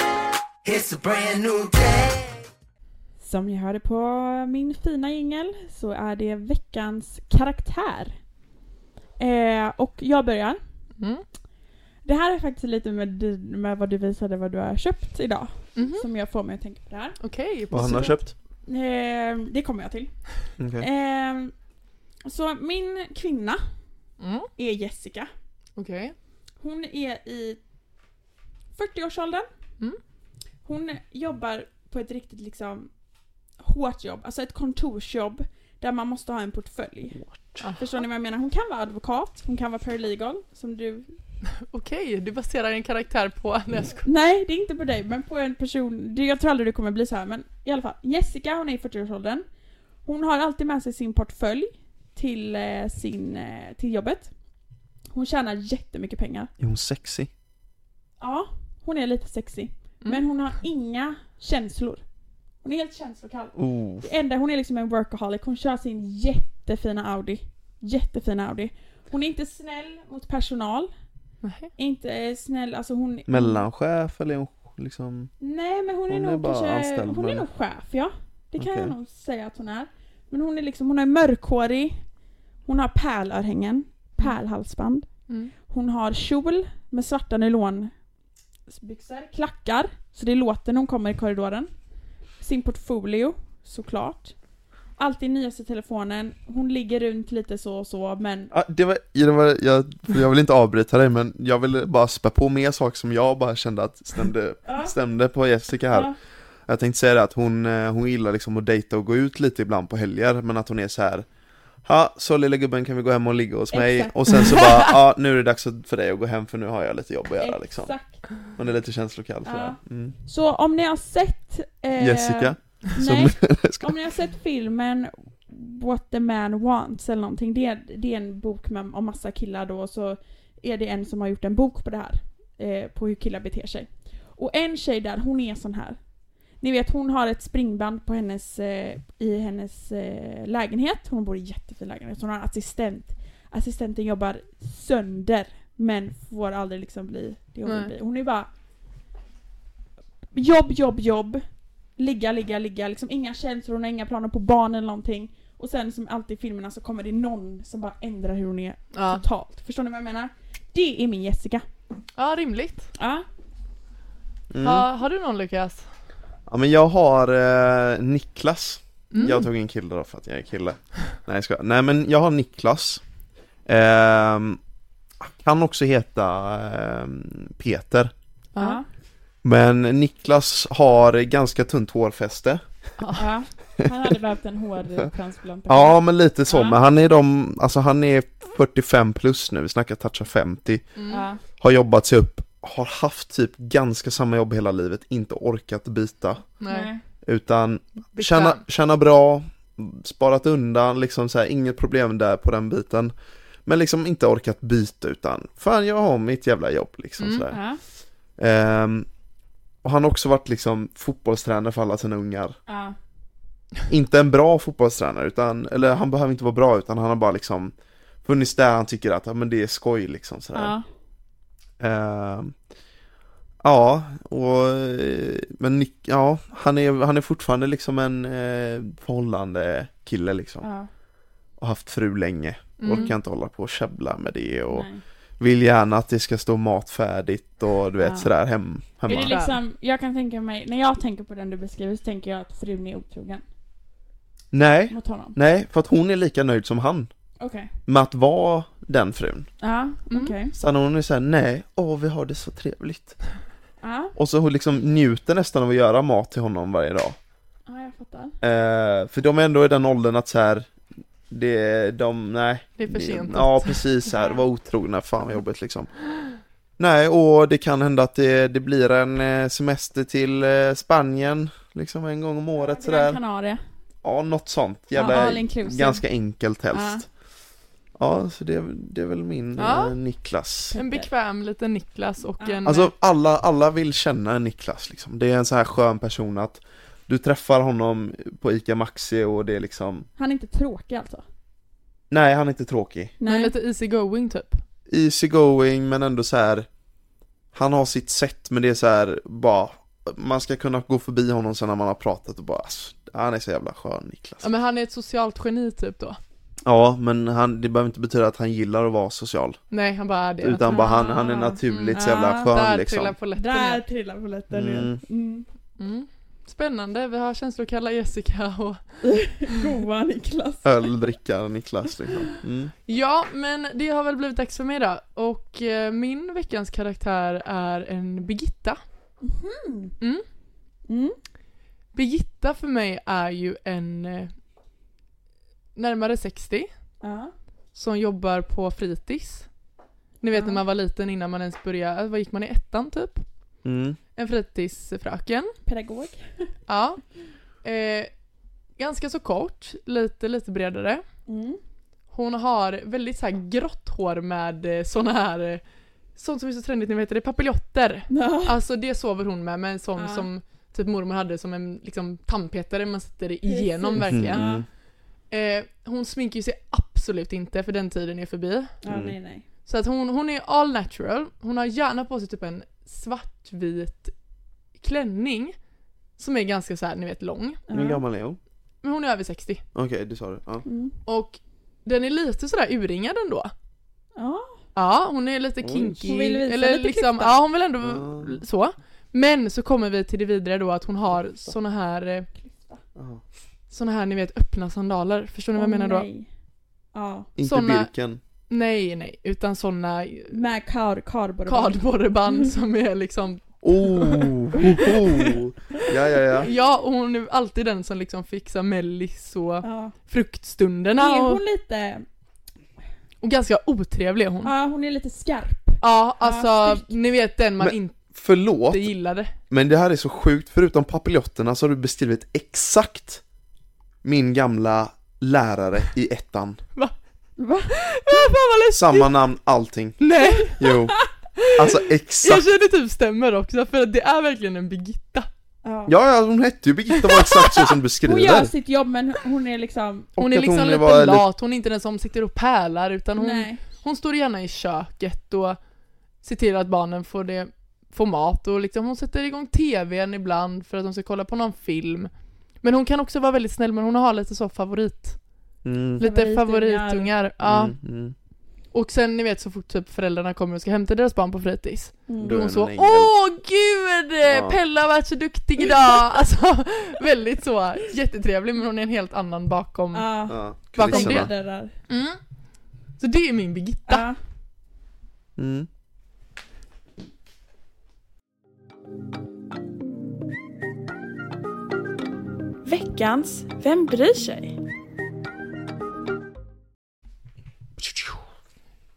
Speaker 4: It's a brand new day.
Speaker 2: Som ni hörde på min fina jingel så är det veckans karaktär. Eh, och jag börjar.
Speaker 3: Mm.
Speaker 2: Det här är faktiskt lite med, di- med vad du visade vad du har köpt idag
Speaker 3: Mhm.
Speaker 2: som jag får mig att tänka på det här.
Speaker 3: Okej,
Speaker 1: Vad han har
Speaker 3: positivt.
Speaker 1: köpt.
Speaker 2: Eh, det kommer jag till.
Speaker 1: Okej.
Speaker 2: Eh, så min kvinna
Speaker 3: Mm.
Speaker 2: är Jessica.
Speaker 3: Okej.
Speaker 2: Hon är i 40-årsåldern.
Speaker 3: Mm.
Speaker 2: Hon jobbar på ett riktigt liksom hårt jobb, alltså ett kontorsjobb där man måste ha en portfölj.
Speaker 3: Aha.
Speaker 2: Förstår ni vad jag menar? Hon kan vara advokat, hon kan vara paralegal som du...
Speaker 3: Okej, du baserar en karaktär på...
Speaker 2: Mm.
Speaker 3: Nej, jag skojar.
Speaker 2: Nej, det är inte på dig men på en person, det- jag tror aldrig du kommer bli så här men i alla fall. Jessica hon är i 40-årsåldern. Hon har alltid med sig sin portfölj till, eh, sin, eh, till jobbet. Hon tjänar jättemycket pengar.
Speaker 1: Är hon sexy?
Speaker 2: Ja, hon är lite sexy.
Speaker 3: Mm.
Speaker 2: Men hon har inga känslor. Hon är helt känslokall.
Speaker 1: Oh.
Speaker 2: Det enda, hon är liksom en workaholic. Hon kör sin jättefina Audi. Jättefina Audi. Hon är inte snäll mot personal.
Speaker 3: Nej.
Speaker 2: Inte eh, snäll, alltså hon...
Speaker 1: Mellanchef eller är hon liksom...
Speaker 2: Nej men hon är
Speaker 1: Hon är
Speaker 2: nog
Speaker 1: bara
Speaker 2: kanske...
Speaker 1: anställd,
Speaker 2: hon är
Speaker 1: men-
Speaker 2: nog chef ja. Det kan jag
Speaker 1: Okej.
Speaker 2: nog säga att hon är. Men hon är liksom, hon är mörkhårig. Hon har pärlörhängen. Pärlhalsband.
Speaker 3: Mm.
Speaker 2: Hon har kjol med svarta nylonbyxor, klackar, så det låter när hon kommer i korridoren. Sin portfolio, såklart. Alltid nyaste telefonen. Hon ligger runt lite så och så, men
Speaker 1: Ah, det var, det var, jag, jag vill inte avbryta dig men jag ville bara spä på mer saker som jag bara kände att stämde,
Speaker 2: Ja.
Speaker 1: stämde på Jessica här.
Speaker 2: ja,
Speaker 1: Jag tänkte säga det att hon, eh, hon gillar liksom att dejta och gå ut lite ibland på helger men att hon är så här. Ja, så lilla gubben kan vi gå hem och ligga hos mig
Speaker 2: Exakt.
Speaker 1: och sen så bara, ja nu är det dags för dig att gå hem för nu har jag lite jobb att göra liksom.
Speaker 2: exakt.
Speaker 1: Hon är lite känslokall sådär. Mm.
Speaker 2: Så om ni har sett... eh,
Speaker 1: Jessica,
Speaker 2: Nej,
Speaker 1: ska-
Speaker 2: om ni har sett filmen What the man wants eller någonting. Det är, det är en bok med, om massa killar då och så är det en som har gjort en bok på det här. Eh, på hur killar beter sig. Och en tjej där, hon är sån här. Ni vet hon har ett springband på hennes, eh, i hennes eh, lägenhet. Hon bor i jättefin lägenhet. Hon har en assistent. Assistenten jobbar sönder men får aldrig liksom bli det hon vill
Speaker 3: Nej.
Speaker 2: bli. Hon är bara jobb, jobb, jobb. Ligga, ligga, ligga. Liksom inga känslor, hon har inga planer på barn eller någonting. Och sen som alltid i filmerna så kommer det någon som bara ändrar hur hon är
Speaker 3: Ja.
Speaker 2: totalt. Förstår ni vad jag menar? Det är min Jessica.
Speaker 3: ja, rimligt.
Speaker 2: Ja.
Speaker 1: mm.
Speaker 3: Ha, har du någon Lukas?
Speaker 1: Ja men jag har eh, Niklas
Speaker 3: Mm.
Speaker 1: Jag tog en kille då för att jag är kille Nej jag skojar. Nej men jag har Niklas Ehm, Kan också heta ehm, Peter
Speaker 3: Ja.
Speaker 1: Men Niklas har ganska tunt hårfäste
Speaker 2: Ja. Han hade behövt en hårtransplantation.
Speaker 1: Ja men lite så,
Speaker 2: Ja.
Speaker 1: men han är de, alltså han är 45 plus nu, vi snackar toucha 50
Speaker 3: Mm.
Speaker 2: Ja.
Speaker 1: Har jobbat sig upp, har haft typ ganska samma jobb hela livet, inte orkat byta
Speaker 3: Nej.
Speaker 1: Utan
Speaker 3: Bekväm.
Speaker 1: tjäna, tjäna bra, sparat undan, liksom så här, inget problem där på den biten. Men liksom inte orkat byta utan, fan jag har mitt jävla jobb liksom
Speaker 3: Mm,
Speaker 1: sådär.
Speaker 2: Ja.
Speaker 1: Ehm, och han har också varit liksom fotbollstränare för alla sina ungar.
Speaker 2: Ja.
Speaker 1: Inte en bra fotbollstränare utan, eller han behöver inte vara bra utan han har bara liksom funnits där han tycker att, ja men det är skoj liksom sådär.
Speaker 2: Ja.
Speaker 1: Ehm, ja, och eh, men Nick, ja, han är, han är fortfarande liksom en eh, förhållande kille liksom.
Speaker 2: Ja.
Speaker 1: Har haft fru länge,
Speaker 3: Mm.
Speaker 1: orkar inte hålla på och käbbla med det och
Speaker 2: Nej.
Speaker 1: vill gärna att det ska stå mat färdigt och du vet
Speaker 2: Ja.
Speaker 1: sådär hem,
Speaker 2: Är det
Speaker 1: hemma.
Speaker 2: liksom, jag kan tänka mig, när jag tänker på den du beskriver så tänker jag att frun är otrogen
Speaker 1: Nej,
Speaker 2: mot honom.
Speaker 1: nej, för att hon är lika nöjd som han
Speaker 2: Okej.
Speaker 1: med att vara den frun.
Speaker 2: Ja, okej.
Speaker 3: Mm.
Speaker 1: Sen hon är såhär, nej, åh vi har det så trevligt.
Speaker 2: Ja.
Speaker 1: Och så hon liksom njuter nästan av att göra mat till honom varje dag.
Speaker 2: ja, jag fattar.
Speaker 1: Eh, för de är ändå i den åldern att så här, det, de, nej.
Speaker 3: Det är för sent.
Speaker 1: Mm. Ja, precis så här, var otrogna, fan vad jobbigt liksom. Nej, och det kan hända att det, det blir en eh, semester till eh, Spanien, liksom en gång om året
Speaker 2: Gran
Speaker 1: sådär.
Speaker 2: Canaria.
Speaker 1: Ja, något sånt.
Speaker 2: Ja, all
Speaker 1: Jävla,
Speaker 2: inclusive.
Speaker 1: ganska enkelt helst. Ja. Ja, så det, det är väl min
Speaker 3: Ja.
Speaker 1: eh, Niklas.
Speaker 3: En bekväm liten Niklas och
Speaker 2: Ja.
Speaker 3: en... eh,
Speaker 1: Alltså alla, alla vill känna en Niklas liksom. Det är en så här skön person att du träffar honom på ICA Maxi och det är liksom
Speaker 2: Han är inte tråkig alltså?
Speaker 1: Nej, han är inte tråkig.
Speaker 3: Men lite easy going typ.
Speaker 1: Easy going men ändå så här Han har sitt sätt men det är så här bara Man ska kunna gå förbi honom sen när man har pratat och bara alltså, Han är så jävla skön Niklas.
Speaker 3: Ja, men han är ett socialt geni typ då.
Speaker 1: Ja, men han, det behöver inte betyda att han gillar att vara social.
Speaker 3: Nej, han bara är det.
Speaker 1: Utan bara han, han är
Speaker 2: Ah,
Speaker 1: naturligt så
Speaker 2: mm,
Speaker 1: jävla
Speaker 2: ah,
Speaker 1: skön
Speaker 3: Där
Speaker 1: liksom.
Speaker 3: trillar polletten
Speaker 2: Där
Speaker 3: ner.
Speaker 2: trillar polletten ner.
Speaker 1: Mm.
Speaker 2: Mm.
Speaker 3: Mm. Spännande, vi har känslokalla Jessica och
Speaker 2: Mm. Goa Niklas.
Speaker 1: Öldrickare Niklas liksom. Mm.
Speaker 3: Ja, men det har väl blivit dags för mig då. Och eh, min veckans karaktär är en Birgitta. Mm.
Speaker 2: Mhm. Mm.
Speaker 3: Birgitta för mig är ju en eh, närmare 60
Speaker 2: Ja.
Speaker 3: som jobbar på fritids. Ni vet
Speaker 2: Ja.
Speaker 3: när man var liten innan man ens började, eh, vad gick man i ettan typ?
Speaker 1: Mm.
Speaker 3: En fritidsfröken.
Speaker 2: Pedagog.
Speaker 3: Ja. Eh, ganska så kort, lite lite bredare.
Speaker 2: Mm.
Speaker 3: Hon har väldigt så här grått hår med eh, såna här eh, Sånt som är så trendigt, ni vet det, papiljotter.
Speaker 2: Ja.
Speaker 3: Alltså det sover hon med, men som,
Speaker 2: Ja.
Speaker 3: som typ mormor hade som en liksom, tandpetare, man sätter det igenom
Speaker 2: Precis.
Speaker 3: verkligen.
Speaker 1: Mm.
Speaker 3: Eh, hon sminkar ju sig absolut inte för den tiden är förbi.
Speaker 2: ja,
Speaker 1: Mm.
Speaker 2: nej nej.
Speaker 3: Så att hon, hon är all natural, hon har gärna på sig typ en svartvit klänning som är ganska så här, ni vet lång.
Speaker 1: Hur gammal är hon?
Speaker 3: Men hon är över 60.
Speaker 1: Okej, det sa du. Ja.
Speaker 2: Mm.
Speaker 3: Och den är lite sådär urringad ändå.
Speaker 2: Ja.
Speaker 3: Ja, hon är lite
Speaker 1: Oj.
Speaker 3: kinky.
Speaker 2: Hon vill visa
Speaker 3: eller
Speaker 2: lite
Speaker 3: liksom,
Speaker 2: klyfta.
Speaker 3: Ja, hon vill ändå
Speaker 1: Mm.
Speaker 3: så. Men så kommer vi till det vidare då att hon har såna här, eh,
Speaker 2: Klyfta.
Speaker 1: Ja.
Speaker 3: såna här ni vet öppna sandaler. Förstår ni vad jag menar då?
Speaker 2: nej. Ja.
Speaker 1: Inte
Speaker 3: Såna-
Speaker 1: Birken.
Speaker 3: Nej, nej. Utan såna eh,
Speaker 2: Med kar, kardborreband. Mm.
Speaker 3: kardborreband som är liksom,
Speaker 1: Oh, ho, ho. Ja, ja, ja.
Speaker 3: ja och hon är alltid den som liksom fixar mellis och
Speaker 2: Ja.
Speaker 3: fruktstunderna
Speaker 2: Är
Speaker 3: och,
Speaker 2: hon lite,
Speaker 3: och ganska otrevlig är hon.
Speaker 2: ja hon är lite skarp.
Speaker 3: Ja, alltså
Speaker 2: strikt.
Speaker 3: ni vet den man
Speaker 1: Men-
Speaker 3: inte
Speaker 1: Förlåt,
Speaker 3: gillade.
Speaker 1: men det här är så sjukt. Förutom papiljonterna så har du beskrivit exakt min gamla lärare i ettan.
Speaker 2: Va?
Speaker 1: Samma namn, allting.
Speaker 3: Nej,
Speaker 1: Jo. Alltså
Speaker 3: jag
Speaker 1: exakt.
Speaker 3: känner typ stämmer också för att det är verkligen en Birgitta.
Speaker 2: Ja.
Speaker 1: Ja, ja, hon hette ju Birgitta var exakt så som du
Speaker 2: Hon gör
Speaker 1: beskriver.
Speaker 2: sitt jobb men hon är liksom,
Speaker 1: Och
Speaker 3: Hon är
Speaker 1: att
Speaker 3: liksom lite
Speaker 1: var lite-
Speaker 3: lat, hon är inte den som sitter och pärlar utan hon,
Speaker 2: nej.
Speaker 3: hon står gärna i köket och ser till att barnen får, det, får mat och liksom hon sätter igång tvn ibland för att de ska kolla på någon film. Men hon kan också vara väldigt snäll men hon har lite så favorit,
Speaker 1: Mm,
Speaker 3: lite
Speaker 2: Favoritungar.
Speaker 3: favoritungar. Ja.
Speaker 1: mm, mm.
Speaker 3: Och sen ni vet så fort typ föräldrarna kommer och ska hämta deras barn på fritids.
Speaker 2: Mm.
Speaker 1: Då
Speaker 3: Då
Speaker 1: är
Speaker 3: hon så
Speaker 1: hon en ängel.
Speaker 3: Åh gud!
Speaker 1: Ja.
Speaker 3: Pella har varit så duktig idag! Alltså väldigt så jättetrevlig men hon är en helt annan bakom.
Speaker 2: Ja.
Speaker 1: Ja,
Speaker 3: Bakom
Speaker 2: Bakom
Speaker 1: kulisserna.
Speaker 2: dörrar.
Speaker 3: Mm. Så det är min Birgitta.
Speaker 2: Ja.
Speaker 1: Mm.
Speaker 2: Veckans Vem bryr sig?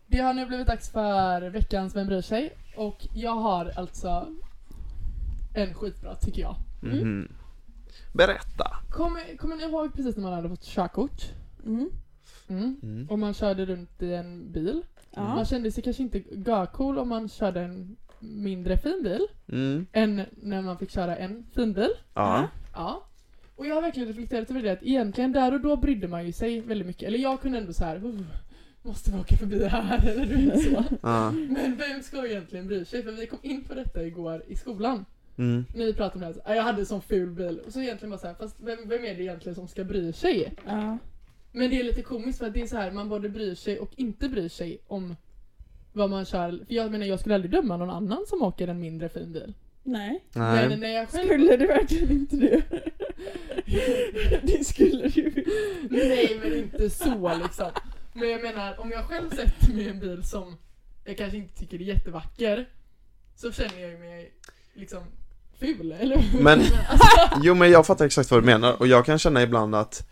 Speaker 3: Det har nu blivit dags för veckans Vem bryr sig? Och jag har alltså en skitbra tycker jag.
Speaker 1: Mhm. Berätta.
Speaker 3: Kommer, kommer ni ihåg precis när man hade fått körkort?
Speaker 2: Mm.
Speaker 3: Mm.
Speaker 1: Mm.
Speaker 3: Och man körde runt i en bil. Man
Speaker 2: Ja.
Speaker 3: kände sig kanske inte görcool om man körde en mindre fin bil
Speaker 1: Mm.
Speaker 3: än när man fick köra en fin bil.
Speaker 1: Ja.
Speaker 3: Ja. Och jag har verkligen reflekterat över det att egentligen där och då brydde man ju sig väldigt mycket. Eller jag kunde ändå så här, "Oh, måste vi åka förbi här? Eller du vet så.
Speaker 1: ja.
Speaker 3: Men vem ska egentligen bry sig? För vi kom in på detta igår i skolan.
Speaker 1: Mm.
Speaker 3: När vi pratade om det här, så, "Ah, jag hade en sån ful bil. Och så egentligen bara så här, fast vem, vem är det egentligen som ska bry sig?
Speaker 2: Ja.
Speaker 3: Men det är lite komiskt för att det är så här, man både bryr sig och inte bryr sig om vad man kör. För jag menar, jag skulle aldrig döma någon annan som åker en mindre fin bil.
Speaker 2: Nej.
Speaker 1: Nej.
Speaker 3: Men när jag själv...
Speaker 2: Skulle du verkligen inte det? det skulle du.
Speaker 3: Nej men inte så liksom. Men jag menar om jag själv sätter mig i en bil som jag kanske inte tycker är jättevacker så känner jag ju mig liksom ful eller hur?
Speaker 1: Men, jo men jag fattar exakt vad du menar och jag kan känna ibland att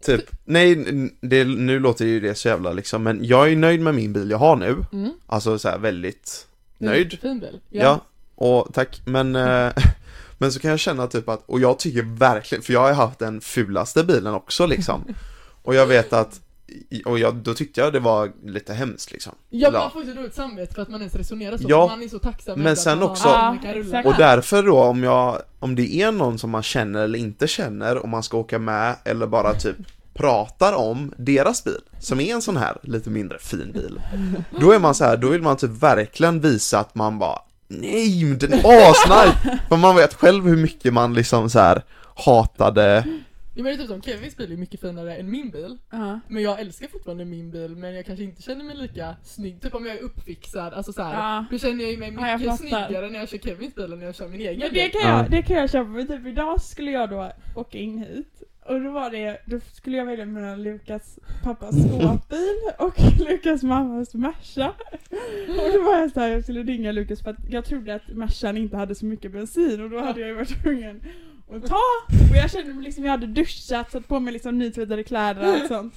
Speaker 1: Typ, nej, n- det, nu låter ju det så jävla liksom, men jag är nöjd med min bil jag har nu
Speaker 3: Mm,
Speaker 1: Alltså så här väldigt
Speaker 3: det är en
Speaker 1: nöjd
Speaker 3: Fin bil.
Speaker 1: Ja, och tack, men eh, Men så kan jag känna typ att, och jag tycker verkligen, för jag har ju haft den fulaste bilen också liksom Och jag vet att i- och jag, då tyckte jag det var lite hemskt liksom.
Speaker 3: Ja,
Speaker 1: Ja.
Speaker 3: man får ju så dåligt samvete för att man ens resonerar så,
Speaker 1: Ja,
Speaker 3: för man är så tacksam
Speaker 1: men
Speaker 3: över att
Speaker 1: sen
Speaker 3: man
Speaker 1: också-
Speaker 3: har en
Speaker 2: Ja,
Speaker 3: rulle.
Speaker 2: exakt.
Speaker 1: Och därför då om jag, om det är någon som man känner eller inte känner, om man ska åka med eller bara typ pratar om deras bil, som är en sån här lite mindre fin bil. Då är man så här, då vill man typ verkligen visa att man bara Nej, men den är asnice! För man vet själv hur mycket man liksom så här hatade
Speaker 3: Ja, men det är typ som Kevins bil är mycket finare än min bil.
Speaker 2: Ja.
Speaker 3: Men jag älskar fortfarande min bil men jag kanske inte känner mig lika snygg. Typ om jag är uppfixad, alltså så här,
Speaker 2: Ja.
Speaker 3: Då känner jag ju mig
Speaker 2: Ja, jag
Speaker 3: mycket
Speaker 2: fattar.
Speaker 3: snyggare när jag kör Kevins bil än när jag kör min egen
Speaker 2: Men det
Speaker 3: bil.
Speaker 2: kan, jag,
Speaker 1: Ja.
Speaker 2: det kan jag köpa, men typ idag skulle jag då åka in hit och då var det, då skulle jag välja mellan Lukas pappas skåpbil och Lukas mammas Merca. Och då var jag såhär, jag skulle ringa Lukas för att jag trodde att Mercan inte hade så mycket bensin och då hade jag ju varit tvungen att ta. Och jag kände mig liksom, jag hade duschat, satt på mig liksom nytvättade kläder och allt sånt.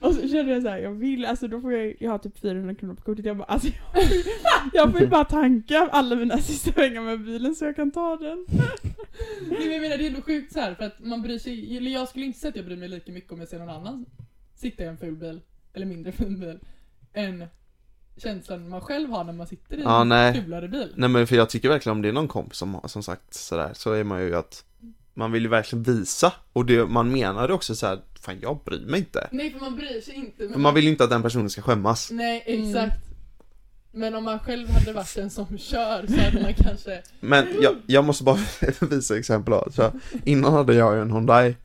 Speaker 2: Och så kände jag såhär, jag vill, alltså då får jag, jag har typ 400 kronor på kortet, jag bara alltså jag vill, jag vill bara tanka alla mina sista pengar med bilen så jag kan ta den.
Speaker 3: Nej, men jag menar det är ändå sjukt så här för att man bryr sig, eller jag skulle inte säga att jag bryr mig lika mycket om jag ser någon annan sitta i en ful bil, eller mindre fin bil, än känslan man själv har när man sitter i
Speaker 1: Ja,
Speaker 3: en
Speaker 1: nej.
Speaker 3: fulare bil.
Speaker 1: Nej men för jag tycker verkligen om det är någon kompis som har- som sagt sådär så är man ju att man vill ju verkligen visa och det, man menar det också så här, fan jag bryr mig inte.
Speaker 3: Nej för man bryr sig inte.
Speaker 1: Men Man vill ju inte att den personen ska skämmas.
Speaker 3: Nej exakt. Men om man själv hade varit den som kör så hade man kanske,
Speaker 1: Men jag, jag måste bara visa exempel av, så innan hade jag ju en Hyundai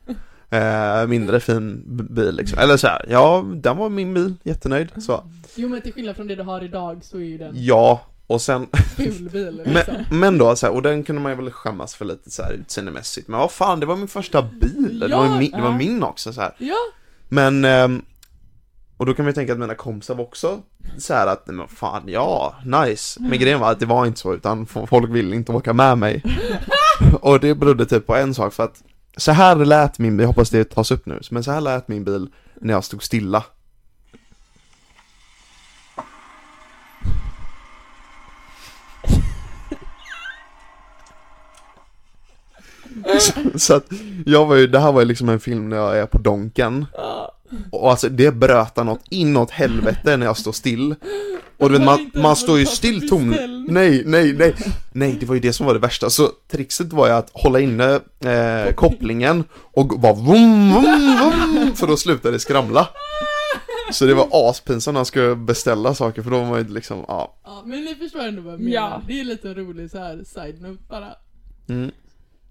Speaker 1: eh, mindre fin b- bil liksom. Eller så här, ja den var min bil, jättenöjd så.
Speaker 3: jo men till skillnad från det du har idag så är ju den
Speaker 1: Ja, och sen
Speaker 3: ful bil liksom.
Speaker 1: Men, men då, så här, och den kunde man ju väl skämmas för lite så här utseendemässigt Men vad fan, det var min första bil, det, var,
Speaker 3: Ja,
Speaker 1: ju min, det var
Speaker 2: ja.
Speaker 1: min också så här.
Speaker 3: Ja.
Speaker 1: Men, ehm, och då kan man ju tänka att mina kompisar var också så här att, nej, men fan ja, nice
Speaker 3: Mm.
Speaker 1: Men grejen var att det var inte så, utan f- folk ville inte åka med mig Och det berodde typ på en sak, för att så här lät min, jag hoppas det tas upp nu, men så här lät min bil när jag stod stilla Så- Så att jag var ju, det här var ju liksom en film när jag är på Donken Och alltså det bröt något inåt helvete när jag står still Och du vet man, man står ju still tom Nej, nej, nej Nej, det var ju det som var det värsta Så trixet var ju att hålla inne eh, kopplingen Och bara vum, vum, vum För då slutade det skramla Så det var aspinsamt när jag skulle beställa saker för då var man ju liksom, ja
Speaker 3: Ja, men ni förstår ändå vad jag menar.
Speaker 2: Ja.
Speaker 3: Det är lite rolig så här side-note bara.
Speaker 1: mm,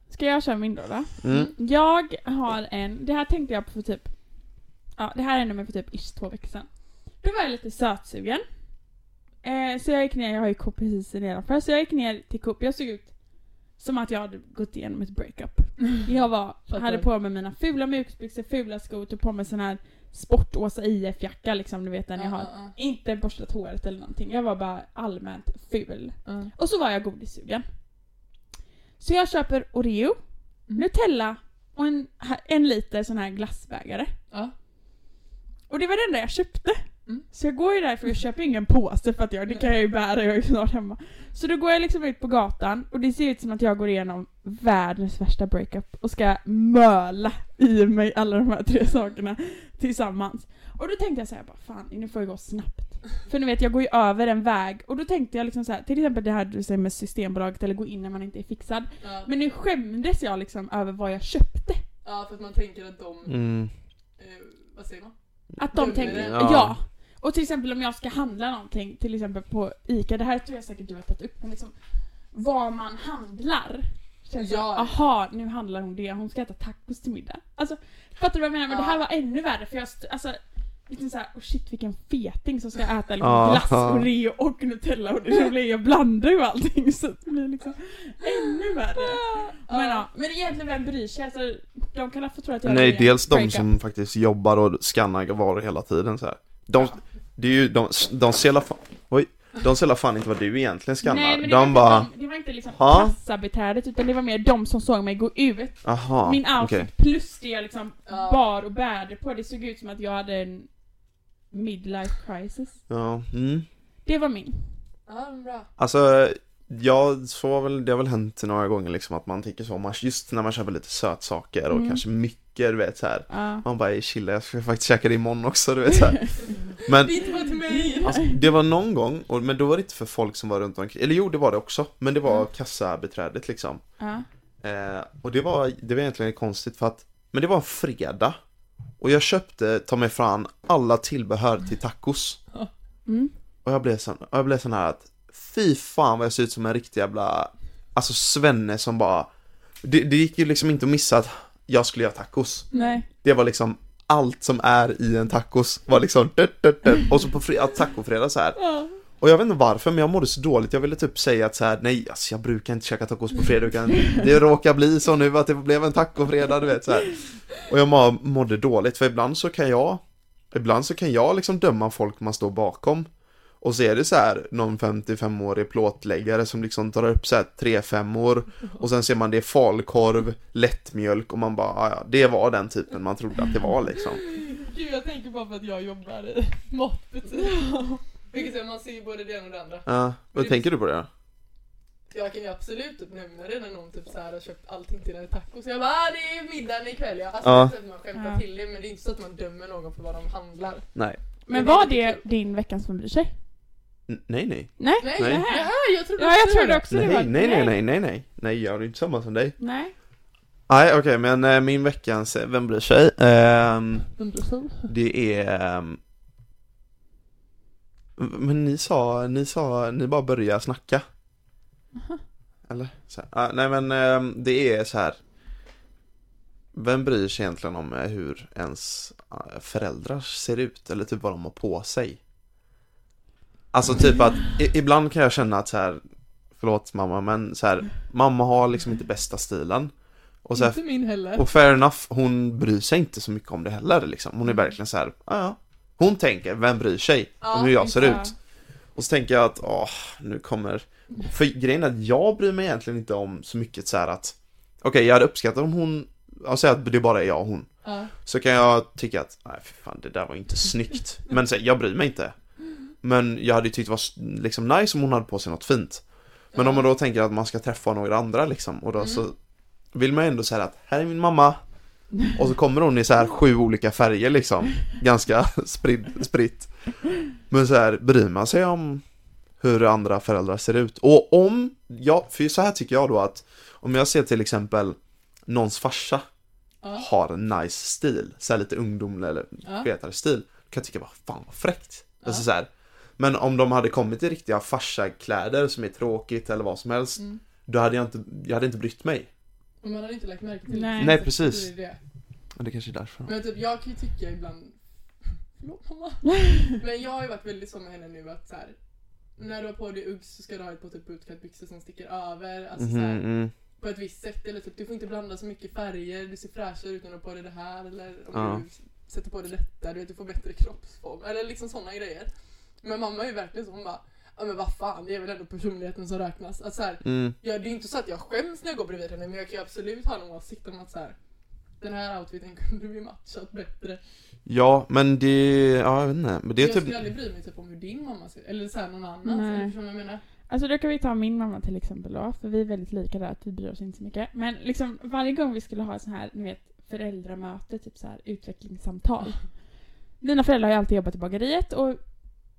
Speaker 2: Ska jag köra min då då?
Speaker 1: mm.
Speaker 2: Jag har en, det här tänkte jag på för typ, ja det här hände mig för typ ish två veckor sedan. Då var jag lite sötsugen. Eh, så jag gick ner, jag har ju Coop precis nedanför, så jag gick ner till Coop, jag såg ut som att jag hade gått igenom ett breakup. Jag var,
Speaker 3: Fattar.
Speaker 2: hade på mig mina fula mjukisbyxor, fula skor, tog på mig sån här sport-Åsa IF-jacka liksom, du vet den jag har.
Speaker 3: Ja,
Speaker 2: Inte borstat håret eller någonting, jag var bara allmänt ful.
Speaker 3: ja, ja.
Speaker 2: Och så var jag godissugen. Så jag köper Oreo,
Speaker 3: Mm.
Speaker 2: Nutella och en, en liter sån här glassbägare.
Speaker 3: Ja.
Speaker 2: Och det var det enda jag köpte.
Speaker 3: Mm.
Speaker 2: Så jag går ju därför, jag köper ingen påse för att jag, det kan jag ju bära, jag är ju snart hemma. Så då går jag liksom ut på gatan och det ser ut som att jag går igenom världens värsta breakup och ska möla i mig alla de här tre sakerna tillsammans. Och då tänkte jag så här, bara, fan nu får jag gå snabbt. För ni vet jag går ju över en väg och då tänkte jag liksom så här, till exempel det här du säger med Systembolaget eller gå in när man inte är fixad.
Speaker 3: Ja.
Speaker 2: Men nu skämdes jag liksom över vad jag köpte.
Speaker 3: ja, för att man tänker att de,
Speaker 1: Mm.
Speaker 3: eh, vad säger man?
Speaker 2: Att de
Speaker 3: Dömer
Speaker 2: tänkte,
Speaker 3: det.
Speaker 2: ja.
Speaker 1: Ja.
Speaker 2: Och till exempel om jag ska handla någonting, till exempel på ICA, det här tror jag säkert du har tagit upp, men liksom vad man handlar. Känns
Speaker 3: Ja.
Speaker 2: ja. aha, nu handlar hon det, hon ska äta tacos till middag. Alltså, fattar du vad jag menar? Men det
Speaker 3: Ja.
Speaker 2: här var ännu värre för jag, st- alltså, liksom såhär, oh shit vilken feting som ska äta liksom,
Speaker 1: Ja.
Speaker 2: glass, Oreo och Nutella och det blir, jag blandar ju allting så det blir liksom ännu värre. Men, ja. men egentligen, vem bryr sig? Alltså, de kan få tro att jag
Speaker 1: Nej,
Speaker 2: är
Speaker 1: dels de
Speaker 2: breakup.
Speaker 1: som faktiskt jobbar och skannar varor hela tiden så här. De, det är ju, de, de ser la fan, oj, de ser la fan inte vad du egentligen skannar.
Speaker 2: Nej, men det, var
Speaker 1: de
Speaker 2: inte
Speaker 1: bara,
Speaker 2: de, det var inte liksom
Speaker 1: "Ha?"
Speaker 2: kassabiträdet utan det var mer de som såg mig gå ut.
Speaker 1: aha,
Speaker 2: Min outfit
Speaker 1: okej.
Speaker 2: plus det jag liksom
Speaker 3: Ja.
Speaker 2: bar och bärde på. Det såg ut som att jag hade en midlife crisis.
Speaker 1: Ja, mm.
Speaker 2: Det var min.
Speaker 3: Ja, men bra.
Speaker 1: Alltså, ja, så har väl, det har väl hänt några gånger liksom att man tänker så, man, just när man köper lite sötsaker och
Speaker 2: Mm.
Speaker 1: kanske mycket mycket, du vet så här.
Speaker 2: Ja.
Speaker 1: Man bara, chilla, jag ska faktiskt käka det imorgon också, du vet så här. Men
Speaker 3: Inte bara till mig!
Speaker 1: Alltså, det var någon gång, och, men då var det inte för folk som var runt omkring, eller jo det var det också, men det var
Speaker 2: Mm.
Speaker 1: kassabiträdet liksom.
Speaker 2: Ja.
Speaker 1: Eh, och det var, det var egentligen konstigt för att, men det var en fredag. Och jag köpte, ta mig fram, alla tillbehör till tacos.
Speaker 2: Mm.
Speaker 1: Och jag blev sån, jag blev sån här att, fy fan vad jag ser ut som en riktig jävla, alltså svenne som bara, det, det gick ju liksom inte att missa att jag skulle göra tacos.
Speaker 2: Nej.
Speaker 1: Det var liksom allt som är i en tacos var liksom dött, dött, dött. Och så på fri, ja, tacofredag så här.
Speaker 2: Ja.
Speaker 1: Och jag vet inte varför, men jag mådde så dåligt. Jag ville typ säga att så här, nej, alltså, jag brukar inte käka tacos på fredag. utan Det råkar bli så nu att det blev en tacofredag, du vet så här. Och jag må- mådde dåligt, för ibland så kan jag, ibland så kan jag liksom döma folk man står bakom. Och så är det så här någon 55-årig plåtläggare som liksom tar upp så här tre femmor och sen ser man det är falukorv, lättmjölk och man bara, "Ah, ja, det var den typen man trodde att det var liksom.
Speaker 2: Mm.
Speaker 3: Gud jag tänker bara för att jag jobbar i matbutik. Vilket säger man ser ju både det ena och det andra.
Speaker 1: Ja, vad tänker du på det? då?
Speaker 3: Jag kan ju absolut typ nämna det när någon typ så här har köpt allting till en taco. Så jag bara ah, det är middagen ikväll ja. Alltså
Speaker 1: Ja.
Speaker 3: det är så att man skämtar
Speaker 2: Ja.
Speaker 3: till det men det är inte så att man dömer någon för vad de handlar.
Speaker 1: Nej.
Speaker 2: Men var det din veckans som bryr sig?
Speaker 1: N- nej, nej.
Speaker 2: Nej?
Speaker 3: Nej,
Speaker 1: Nej.
Speaker 3: nej. jag trodde
Speaker 2: Ja, jag
Speaker 3: också det
Speaker 2: trodde
Speaker 3: var
Speaker 2: också det var...
Speaker 1: Nej, nej, nej, nej, nej, nej. Nej, jag är inte samma som dig.
Speaker 2: Nej.
Speaker 1: Nej, okej, men eh, min veckans, eh, vem bryr sig? Ehm, det är... ehm, men ni sa, ni sa, ni bara började snacka.
Speaker 2: Aha.
Speaker 1: Eller? Så här, ah, nej, men ehm, det är så här. Vem bryr sig egentligen om eh, hur ens eh, föräldrar ser ut? Eller typ vad de har på sig? Alltså typ att, i, ibland kan jag känna att så här. Förlåt mamma, men så här. Mamma har liksom inte bästa stilen. Och så här,
Speaker 3: Inte min heller.
Speaker 1: och fair enough, hon bryr sig inte så mycket om det heller liksom. Hon är verkligen så här, "Ja, ja. Hon tänker, vem bryr sig om
Speaker 3: Ja,
Speaker 1: hur jag ser
Speaker 2: ja.
Speaker 1: ut? Och så tänker jag att, åh, nu kommer... För grejen är att jag bryr mig egentligen inte om så mycket så här att... Okej, jag hade uppskattat om hon... Jag säger att det bara är jag och hon.
Speaker 3: Ja.
Speaker 1: Så kan jag tycka att, nej för fan det där var inte snyggt. Men så, här, jag bryr mig inte. Men jag hade ju tyckt det var s- liksom nice om hon hade på sig något fint. Men om man då tänker att man ska träffa några andra liksom och då så vill man ju ändå säga att här är min mamma. Och så kommer hon i så här sju olika färger liksom. Ganska spridd, spritt. Men så här bryr man sig om hur andra föräldrar ser ut. Och om, ja, för så här tycker jag då att om jag ser till exempel någons farsa
Speaker 3: Ja.
Speaker 1: har en nice stil, så här lite ungdomlig eller
Speaker 3: Ja.
Speaker 1: fetare stil, då kan jag tycka vad fan vad fräckt. Alltså så här. Men om de hade kommit i riktiga farsakläder som är tråkigt eller vad som helst,
Speaker 3: Mm.
Speaker 1: då hade jag inte, jag hade inte brytt mig.
Speaker 3: Och man har inte lagt märke till
Speaker 2: Nej.
Speaker 3: det.
Speaker 1: Nej,
Speaker 3: Så
Speaker 1: precis.
Speaker 3: det är det.
Speaker 1: Och det kanske är därför.
Speaker 3: Men typ jag kan ju tycka ibland Förlåt mamma. Men jag har ju varit väldigt så med henne nu att så här, när du har på dig Uggs så ska du ha ett par typ bootcutbyxor som sticker över. Alltså så
Speaker 1: Mhm,
Speaker 3: här,
Speaker 1: mm.
Speaker 3: på ett visst sätt. Eller typ du får inte blanda så mycket färger. Du ser fräschare ut när du har på dig det här. Eller om
Speaker 1: Ja.
Speaker 3: du sätter på dig detta. Du vet du får bättre kroppsform. Eller liksom sådana grejer. Men mamma är ju verkligen så. Hon bara Ja men vad fan det är väl ändå personligheten som räknas. Alltså, så här,
Speaker 1: Mm.
Speaker 3: Ja, det är inte så att jag skäms när jag går bredvid henne men jag kan ju absolut ha någon åsikt om att så här, den här outfiten kunde vi matchat bättre.
Speaker 1: Ja, men det, ja jag vet inte. Men det är
Speaker 3: jag
Speaker 1: typ,
Speaker 3: skulle aldrig bry mig typ om hur din mamma ser Eller så här någon annans.
Speaker 2: Nej.
Speaker 3: Eller förstår du vad jag menar?
Speaker 2: Alltså då kan vi ta min mamma till exempel då, för vi är väldigt lika där att vi bryr oss inte så mycket. Men liksom varje gång vi skulle ha ett sån här, ni vet, föräldramöte, typ så här utvecklingssamtal. Mina föräldrar har ju alltid jobbat i bageriet och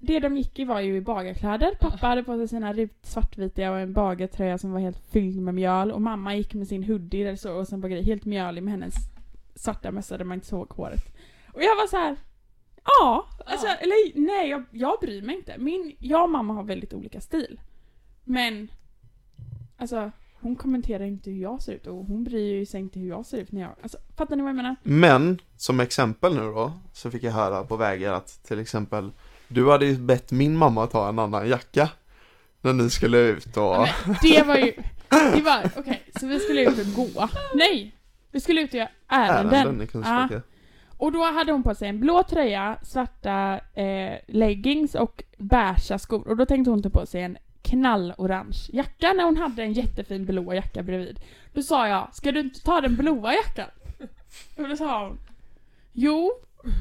Speaker 2: det de gick i var ju i bagarkläder. Pappa hade på sig sina rut svartvita och en bagartröja som var helt fylld med mjöl och mamma gick med sin hoodie eller så och sen bageri helt mjölig med hennes svarta mössa där man inte såg håret. Och jag var så här. Ja, alltså,
Speaker 3: Ja.
Speaker 2: eller nej jag, jag bryr mig inte. Min, jag och mamma har väldigt olika stil. Men alltså hon kommenterar inte hur jag ser ut och hon bryr ju sig inte hur jag ser ut när jag, alltså fattar ni vad jag menar?
Speaker 1: men som exempel nu då, så fick jag höra på vägar att till exempel, du hade ju bett min mamma ta en annan jacka. När ni skulle ut och...
Speaker 2: Ja, men det var ju, det var, okej, så vi skulle ut och gå. Nej! Vi skulle ut och göra ärenden.
Speaker 1: ärenden i Kungsbacka.
Speaker 2: Och då hade hon på sig en blå tröja, svarta eh, leggings och beiga skor. Och då tänkte hon ta på sig en knallorange jacka när hon hade en jättefin blå jacka bredvid. Då sa jag, ska du inte ta den blåa jackan? Och då sa hon, jo,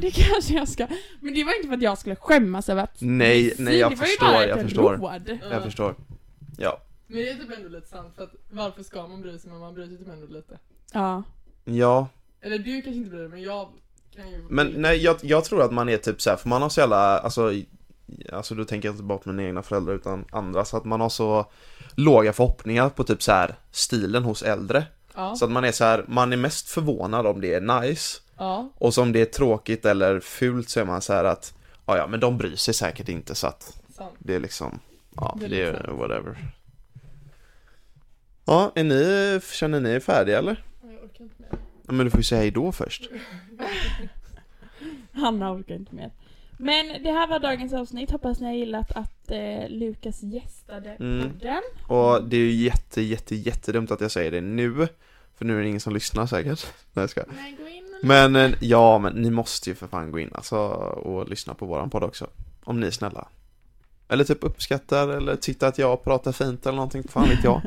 Speaker 2: det kanske jag ska. Men det var inte för att jag skulle skämmas över att
Speaker 1: Nej,
Speaker 2: sy,
Speaker 1: nej jag
Speaker 2: det
Speaker 1: förstår,
Speaker 2: var ju bara
Speaker 1: jag
Speaker 2: ett
Speaker 1: förstår.
Speaker 2: råd.
Speaker 1: Jag förstår. Ja.
Speaker 3: Men det är typ ändå lite sant för att varför ska man bry sig men man bryr sig typ ändå lite.
Speaker 2: Ja.
Speaker 1: Ja,
Speaker 3: Eller du kanske inte blir det, men jag kan ju...
Speaker 1: Men nej, jag, jag tror att man är typ så här, för man har så jävla, alltså, i- alltså då tänker jag inte bara på mina egna föräldrar utan andra, så att man har så låga förhoppningar på typ så här stilen hos äldre.
Speaker 3: ja,
Speaker 1: Så att man är så här, man är mest förvånad om det är nice,
Speaker 3: ja,
Speaker 1: och så om det är tråkigt eller fult så är man så här att, ja ja, men de bryr sig säkert inte så att
Speaker 3: sant.
Speaker 1: Det är liksom, ja,
Speaker 3: Det
Speaker 1: det
Speaker 3: är
Speaker 1: är,
Speaker 3: liksom-
Speaker 1: whatever. Ja, är ni, känner ni er färdiga eller?
Speaker 3: Ja, Jag orkar inte mer.
Speaker 1: Ja, Men du får ju säga hej då först.
Speaker 2: Hanna orkar inte mer. Men det här var dagens avsnitt. Hoppas ni har gillat att eh, Lukas gästade
Speaker 1: Mm.
Speaker 2: podden.
Speaker 1: Och det är ju jätte, jätte, jättedumt att jag säger det nu. För nu är det ingen som lyssnar säkert. Nej, jag ska.
Speaker 3: Nej, gå in och
Speaker 1: Men eh, ja, men ni måste ju för fan gå in alltså och lyssna på våran podd också. Om ni är snälla. Eller typ uppskattar eller tyckte att jag pratar fint eller någonting, fan vet jag.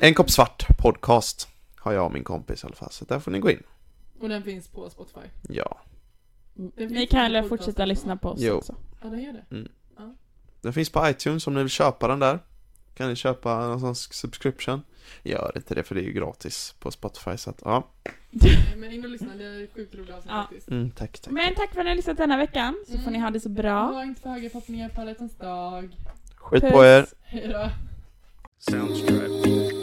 Speaker 1: En kopp svart podcast har jag och min kompis i alla fall, så där får ni gå in.
Speaker 3: Och den finns på Spotify.
Speaker 1: Ja.
Speaker 3: finns
Speaker 2: Ni kan
Speaker 3: på
Speaker 2: väl
Speaker 3: podcast.
Speaker 2: fortsätta lyssna på oss
Speaker 1: Jo.
Speaker 2: också.
Speaker 3: Ja, den gör det.
Speaker 1: Den finns på iTunes om ni vill köpa den där. Kan ni köpa någon sån subscription? Gör inte det för det är ju gratis på Spotify så att ja.
Speaker 3: Nej, Eh, Men in och lyssna, det är sjukt roliga avsnitt
Speaker 2: Ja.
Speaker 3: faktiskt.
Speaker 1: Mm, tack tack.
Speaker 2: Men tack för att ni har lyssnat denna veckan. Så får ni ha det så bra.
Speaker 3: Ha inte för höga förhoppningar på alla hjärtans dag.
Speaker 1: Skit på er.
Speaker 3: Hej då.
Speaker 5: Soundstripe.